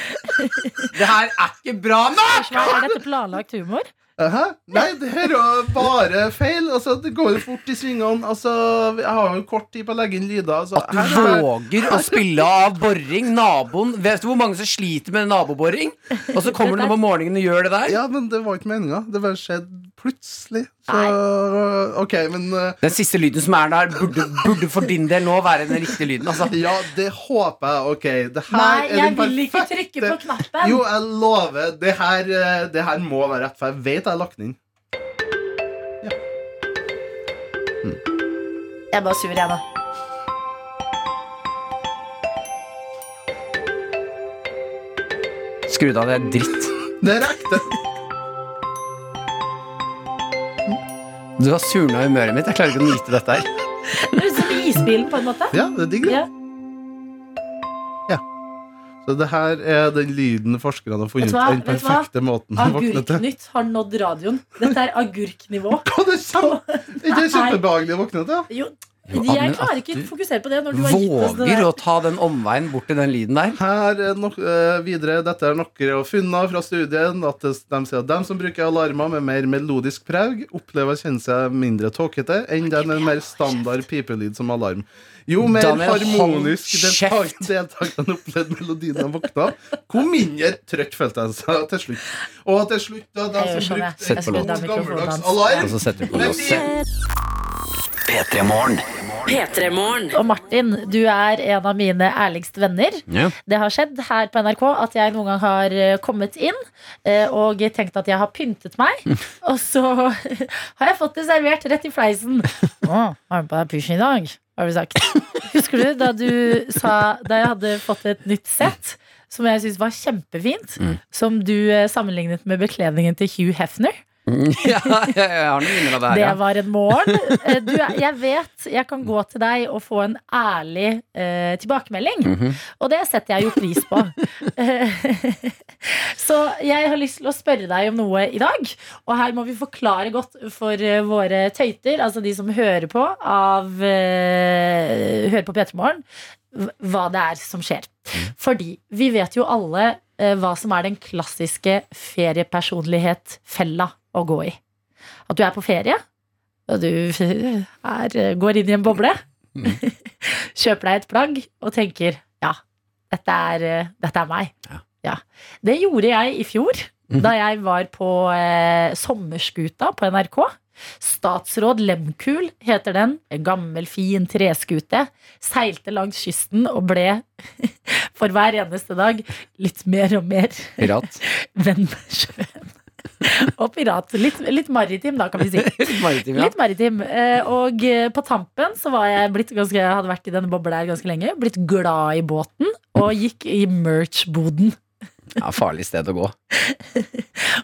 Det her er ikke bra nok!
Hva Er dette planlagt humor?
Eh, Hæ? Nei, det her var bare feil. Altså, det går jo fort i svingene. Altså, jeg har jo kort tid på å legge inn lyder. Altså,
At du
her er det-
våger å spille av boring. Naboen Vet du hvor mange som sliter med naboboring? Og så kommer du nå på morgenen og gjør det der?
Ja, men det var ikke meninga. Det bare skjedde plutselig. Så,
Nei.
ok, men eh,
Den siste lyden som er der, burde, burde for din del nå være den riktige lyden. Altså.
Ja, det håper jeg. Ok, det her
Nei,
er
jeg
den
vil ikke
perfekte-
trykke på knappen.
Jo, jeg lover. Det her, eh, det her må være rett, for jeg vet jeg har lagt den inn.
Jeg er bare sur, jeg nå.
Skru av, det er dritt.
Det er ekte.
Du har surna humøret mitt. Jeg klarer ikke å nyte dette her.
Det er Som isbilen, på en måte.
Ja, det er digg, det.
Ja.
Så det her er den lyden forskerne har funnet
Vet du hva?
den
Vet du hva?
perfekte måten å våkne til.
Agurknytt har nådd radioen. Dette er agurknivå.
Hva, det er kjempe- det er ikke kjempebehagelig å våkne til?
Jo,
Jo,
jeg
men
klarer
at
ikke
du
å fokusere på det når du har gitt oss det
Våger
der.
å ta den omveien bort til den lyden der.
Her er nok, eh, videre, Dette er noen funner fra studien. At det- de sier at de som bruker alarmer med mer melodisk preg, opplever å kjenne seg mindre tåkete enn den med mer standard pipelyd som alarm. Jo mer
Daniel, hold
harmonisk deltak
kjeft!
deltakerne opplevde melodien de våkna, hvor mindre trøtt følte de seg til slutt. Og til slutt, da, de
Jeg
som
gjør sånn, jeg.
Sett
brukte
på
en
låt.
god gammeldags
Gammeldags alarm.
Og
alarm
så setter du på
Men
låset.
de-
P3morgen.
P3-morgen.
Og Martin, du er en av mine ærligste venner.
Ja.
Det har skjedd her på NRK at jeg noen gang har eh, kommet inn eh, og tenkt at jeg har pyntet meg. Og så har jeg fått det servert rett i fleisen. Å, har du på deg pysj i dag? Har du sagt. Husker du da du sa Da jeg hadde fått et nytt sett? Som jeg syntes var kjempefint.
Mm.
Som du eh, sammenlignet med bekledningen til Hugh Hefner.
Ja, jeg har noen minner av det her.
Det
Ja.
var en morgen. Eh, Du, jeg vet jeg kan gå til deg og få en ærlig eh, tilbakemelding. Og det setter jeg jo pris på. Eh, Så jeg har lyst til å spørre deg om noe i dag. Og her må vi forklare godt for eh, våre tøyter, altså de som hører på av eh, Hører på P3 Morgen, hv- hva det er som skjer. Fordi vi vet jo alle eh, hva som er den klassiske feriepersonlighet-fella å gå i. At du er på ferie, og du er, går inn i en boble, kjøper deg et plagg og tenker ja, dette er, dette er meg. Ja. Det gjorde jeg i fjor, da jeg var på eh, sommerskuta på NRK. Statsråd Lemkul heter den. En gammel, fin treskute. Seilte langs kysten og ble for hver eneste dag litt mer og mer
Pirat.
venn med sjøen. Og pirat. Litt, litt maritim, da, kan vi si.
Maritim, ja.
Litt maritim. Eh, Og eh, på tampen så var jeg blitt ganske, jeg hadde vært i denne bobla her ganske lenge. Blitt glad i båten og gikk i merch-boden.
ja. Farlig sted å gå.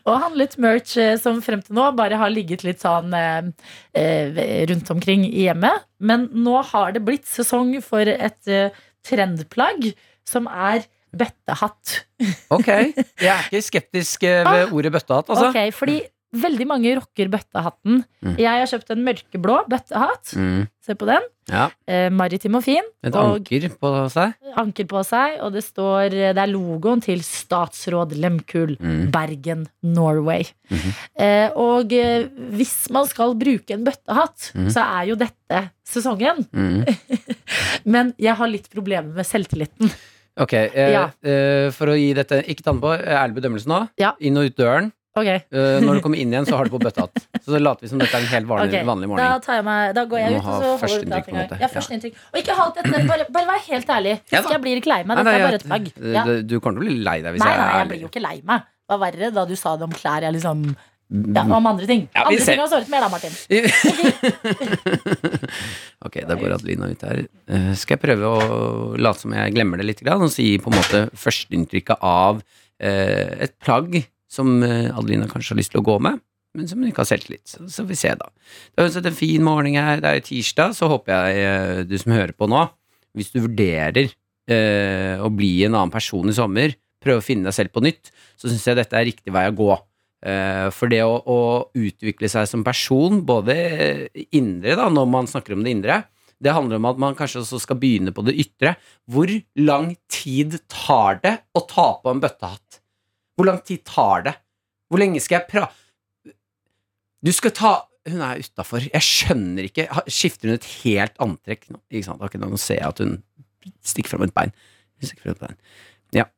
Og handlet merch eh, som frem til nå bare har ligget litt sånn eh, eh, rundt omkring i hjemmet. Men nå har det blitt sesong for et eh, trendplagg som er bøttehatt.
Ok, jeg er ikke skeptisk eh, ved ordet bøttehatt, altså.
Ah, Ok, fordi veldig mange rocker bøttehatten.
Mm.
Jeg har kjøpt en mørkeblå bøttehatt.
Mm.
Se på den.
Ja,
Eh, maritim og fin.
Et
Og
anker på seg.
anker på seg. Og det, står, det er logoen til statsråd Lemkul.
Mm.
Bergen, Norway.
Mhm.
eh, og eh, hvis man skal bruke en bøttehatt,
Mhm.
så er jo dette sesongen.
Mm.
Men jeg har litt problemer med selvtilliten.
Ok, eh,
Ja.
eh, for å gi dette Ikke ta den på, eh, ærlig bedømmelse nå.
Ja.
Inn og ut døren.
Ok,
Eh, når du kommer inn igjen, så har du på bøttehatt. Så da later vi som dette er en helt vanlig,
ok.
vanlig
Da,
morgen.
tar jeg meg, da går jeg
Du må
ut, og
ha
så holder du
førsteinntrykk,
platen
på
en
en
gang.
måte.
Ja,
Ja.
førsteinntrykk. Og ikke hold dette, bare, bare vær helt ærlig.
Ja da.
Skal jeg bli litt lei meg?
Nei,
Dette
nei,
er bare
jeg-
et plagg.
eh,
Ja.
det- Du kommer til å bli lei deg hvis
Nei,
jeg
nei,
er
jeg blir jo ikke lei meg. Det var verre da du sa det om klær. Jeg liksom, ja,
ærlig.
om andre ting.
Mm. Ja, vi
andre
ser.
ting har såret mer, da, Martin.
ok, da går Adelina ut her. Eh, skal jeg prøve å late som jeg glemmer det litt, grann, og si på en måte førsteinntrykket av eh, et plagg som eh, Adelina kanskje har lyst til å gå med, men som hun ikke har selvtillit. Så, så får vi se, da. Det er uansett en fin morgen her. Det er tirsdag, så håper jeg eh, du som hører på nå, hvis du vurderer eh, å bli en annen person i sommer, prøve å finne deg selv på nytt, så syns jeg dette er riktig vei å gå. Eh, For det å, å utvikle seg som person, både eh, indre, da, når man snakker om det indre, det handler om at man kanskje også skal begynne på det ytre. Hvor lang tid tar det å ta på en bøttehatt? Hvor lang tid tar det? Hvor lenge skal jeg pra... Du skal ta Hun er utafor. Jeg skjønner ikke. Ha- Skifter hun et helt antrekk nå? Ikke sant? Akkurat nå ser jeg at hun stikker fram et bein. Hun stikker fram et bein. Ja.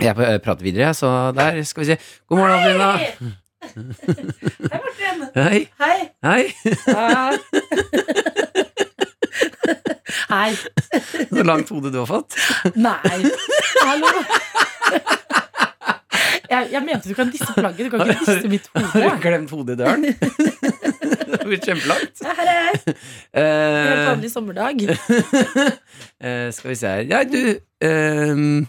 Jeg eh, prater videre, jeg, så der skal vi se. God morgen, Adelina.
Hei, Martin.
Hei,
Hei.
hei.
Hei.
Så langt hode du har fått.
Nei. Hallo. Jeg, jeg mente du kan disse plagget. Du kan ikke disse mitt
Har du
hode.
glemt hodet i døren? det blir kjempelangt.
Ja, Her er jeg. Helt
Eh,
vanlig sommerdag.
eh, skal vi se her Ja, du ehm,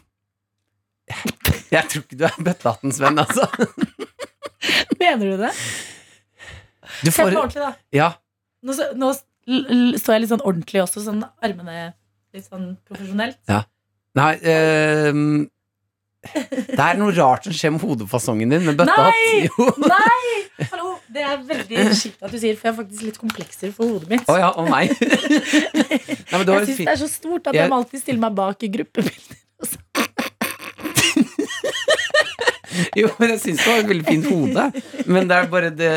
Jeg tror ikke du er bøttehattens venn, altså.
Mener du det?
Du
Se på
får
meg ordentlig, da.
Ja.
Nå, så- nå s- l- l- står jeg litt sånn ordentlig også, sånn armene litt sånn profesjonelt.
Nei ehm, Det er noe rart som skjer med hodefasongen din med bøttehatt.
Nei!
Jo.
Nei! Hallo! Det er veldig skikkelig at du sier, for jeg har faktisk litt komplekser for hodet mitt.
Å ja, og meg. Nei, men det var
Jeg
litt
syns
fint.
det er så stort at
Jeg-
jeg må alltid stille meg bak i gruppebilder.
Jo, men jeg syns det var et veldig fint hode. Men det er bare det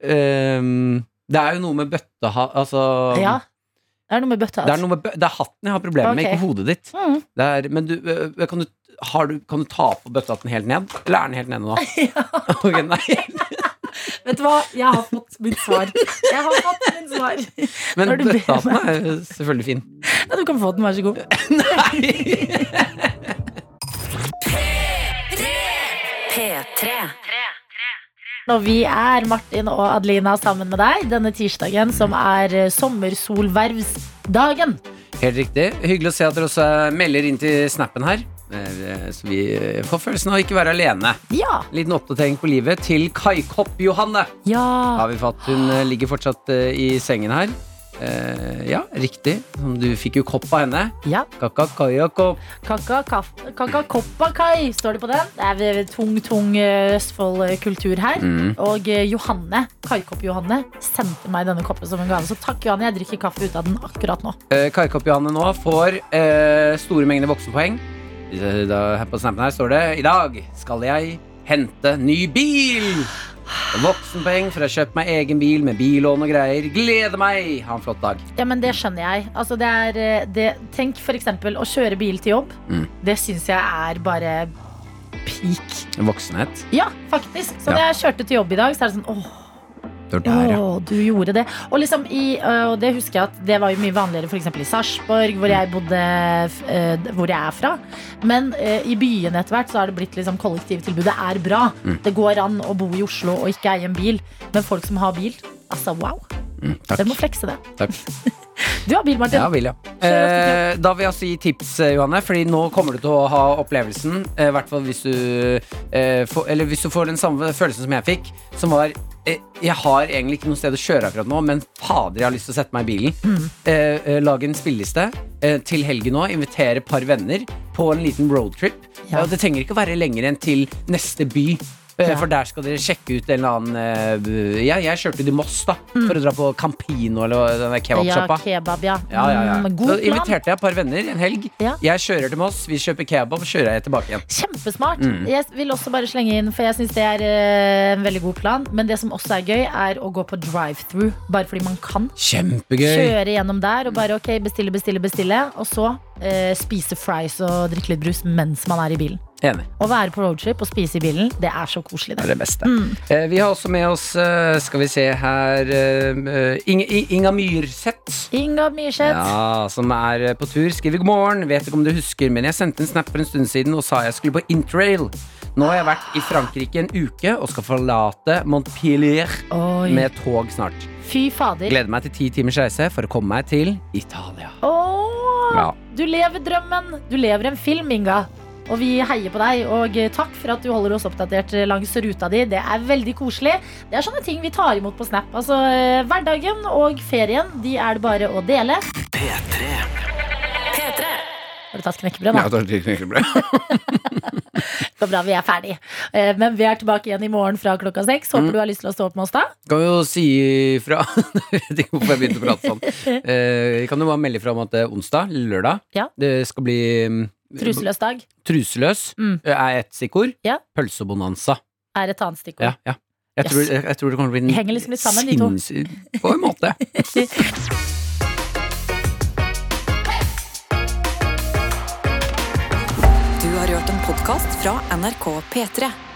ehm, Det er jo noe med bøtteha... Altså
Ja. Det er noe med bøtta.
det, er noe med, bø- det er hatten jeg har problemer med,
Ok.
ikke hodet ditt.
Mm.
Det er, men du, øh, kan, du, har du, kan du ta på bøttehatten helt ned? Eller er den helt nede nå? Ok, nei.
Vet du hva? Jeg har fått mitt svar. Jeg har fått mitt svar.
Men
Når du ber
bøttehatten er jo selvfølgelig fin.
Ja, du kan få den, vær så god.
P3.
Og vi er Martin og Adelina sammen med deg denne tirsdagen, som er eh, sommersolvervsdagen.
Helt riktig. Hyggelig å se at dere også eh, melder inn til snappen her. Eh, Så vi eh, får følelsen av å ikke være alene.
Ja.
En liten oppdatering på livet til Kai Kopp-Johanne.
Ja.
Har vi fått Hun eh, ligger fortsatt eh, i sengen her. Eh, ja, riktig. Du fikk jo kopp av henne.
ja.
Kaka, kaja, kopp.
Kaka, kaf- kaka Koppakai, står det på den. Det er eh, tung, tung eh, Østfold-kultur her.
Mm.
Og eh, Johanne, Kaikopp-Johanne sendte meg denne koppen som en gave. Så takk, Johanne. Jeg drikker kaffe ut av den akkurat nå.
Eh, Kai Kopp-Johanne nå får eh, store mengder voksenpoeng. Eh, Da, her på snappen her står det I dag skal jeg hente ny bil! Voksenpoeng for å ha kjøpt meg egen bil med billån og greier. Gleder meg! Ha en flott dag.
Ja, men Det skjønner jeg. Altså, det er, eh, det, tenk f.eks. å kjøre bil til jobb.
Mm.
Det syns jeg er bare peak.
Voksenhet.
Ja, faktisk. Så når jeg kjørte til jobb i dag, så er det sånn åh,
Det var der, ja.
åh, du gjorde det. Og liksom i, øh, og det husker jeg at det var jo mye vanligere f.eks. i Sarpsborg, hvor jeg bodde f- øh, d- hvor jeg er fra. Men øh, i byene etter hvert så har det blitt liksom kollektivtilbudet er bra.
Mm.
Det går an å bo i Oslo og ikke eie en bil, men folk som har bil, altså wow.
Mm,
Dere
takk.
må flekse det.
takk.
Du har bil, Martin.
Ja, vil, ja. Eh, da vil jeg også gi tips, eh, Johanne, Fordi nå kommer du til å ha opplevelsen. eh, I hvert fall hvis du eh, får, Eller hvis du får den samme følelsen som jeg fikk, som var eh, jeg har egentlig ikke noe sted å kjøre akkurat nå, men fader, jeg har lyst til å sette meg i bilen.
Mm.
Eh, eh, lage en spilleliste eh, til helgen nå. Invitere et par venner på en liten roadtrip.
Ja.
Eh, Og det trenger ikke å være lenger enn til neste by. eh,
Ja.
For der skal dere sjekke ut en eller annen eh, b- ja, Jeg kjørte til Moss da for å dra på Campino eller hva- den der kebabsjappa.
Mm. Ja, kebab, ja.
Ja, ja, ja.
Mm,
Så
god plan.
inviterte jeg et par venner en helg.
Ja.
Jeg kjører til Moss, vi kjøper kebab, kjører jeg tilbake igjen.
Kjempesmart.
Mm.
Jeg vil også bare slenge inn, for jeg syns det er eh, en veldig god plan. Men det som også er gøy, er å gå på drive-through, bare fordi man kan.
Kjempegøy!
Kjøre gjennom der og bare ok, bestille, bestille, bestille. Og så eh, spise fries og drikke litt brus mens man er i bilen.
Enig.
Å være på roadtrip og spise i bilen, det er så koselig.
Det
Det.
er det beste.
Mm.
Eh, Vi har også med oss, eh, skal vi se her eh, Inge, I- Inga Myrseth.
Inga Myrseth.
Ja, som er eh, på tur. Skriver god morgen. Vet ikke om du husker, men jeg sendte en snap for en stund siden og sa jeg skulle på interrail. Nå har jeg vært i Frankrike en uke og skal forlate Montpellier
Oi.
med tog snart.
Fy fader.
Gleder meg til ti timers reise for å komme meg til Italia.
Åh,
Ja.
Du lever drømmen. Du lever en film, Inga. Og vi heier på deg. Og eh, takk for at du holder oss oppdatert eh, langs ruta di. Det er veldig koselig. Det er sånne ting vi tar imot på Snap. Altså, eh, Hverdagen og ferien, de er det bare å dele.
P3.
Har du tatt knekkebrød, da?
det er knekkebrød.
Så bra, vi er ferdig. Eh, Men vi er tilbake igjen i morgen fra klokka seks. Håper
Mm.
du har lyst til å stå opp med oss da.
Kan vi jo si ifra Jeg vet ikke hvorfor jeg begynte å prate sånn. Eh, kan jo bare melde ifra om at det er onsdag, lørdag,
Ja.
det skal bli mm,
Truseløs dag
Truseløs eh,
Mm.
er ett stikkord.
Ja.
Pølsebonanza.
er et annet stikkord.
Ja, ja. Jeg, tror, jeg, jeg tror det kommer til å bli en
Henger liksom litt sammen, de to.
sinnssyk- På en måte.
Du har hørt en podkast fra NRK P3.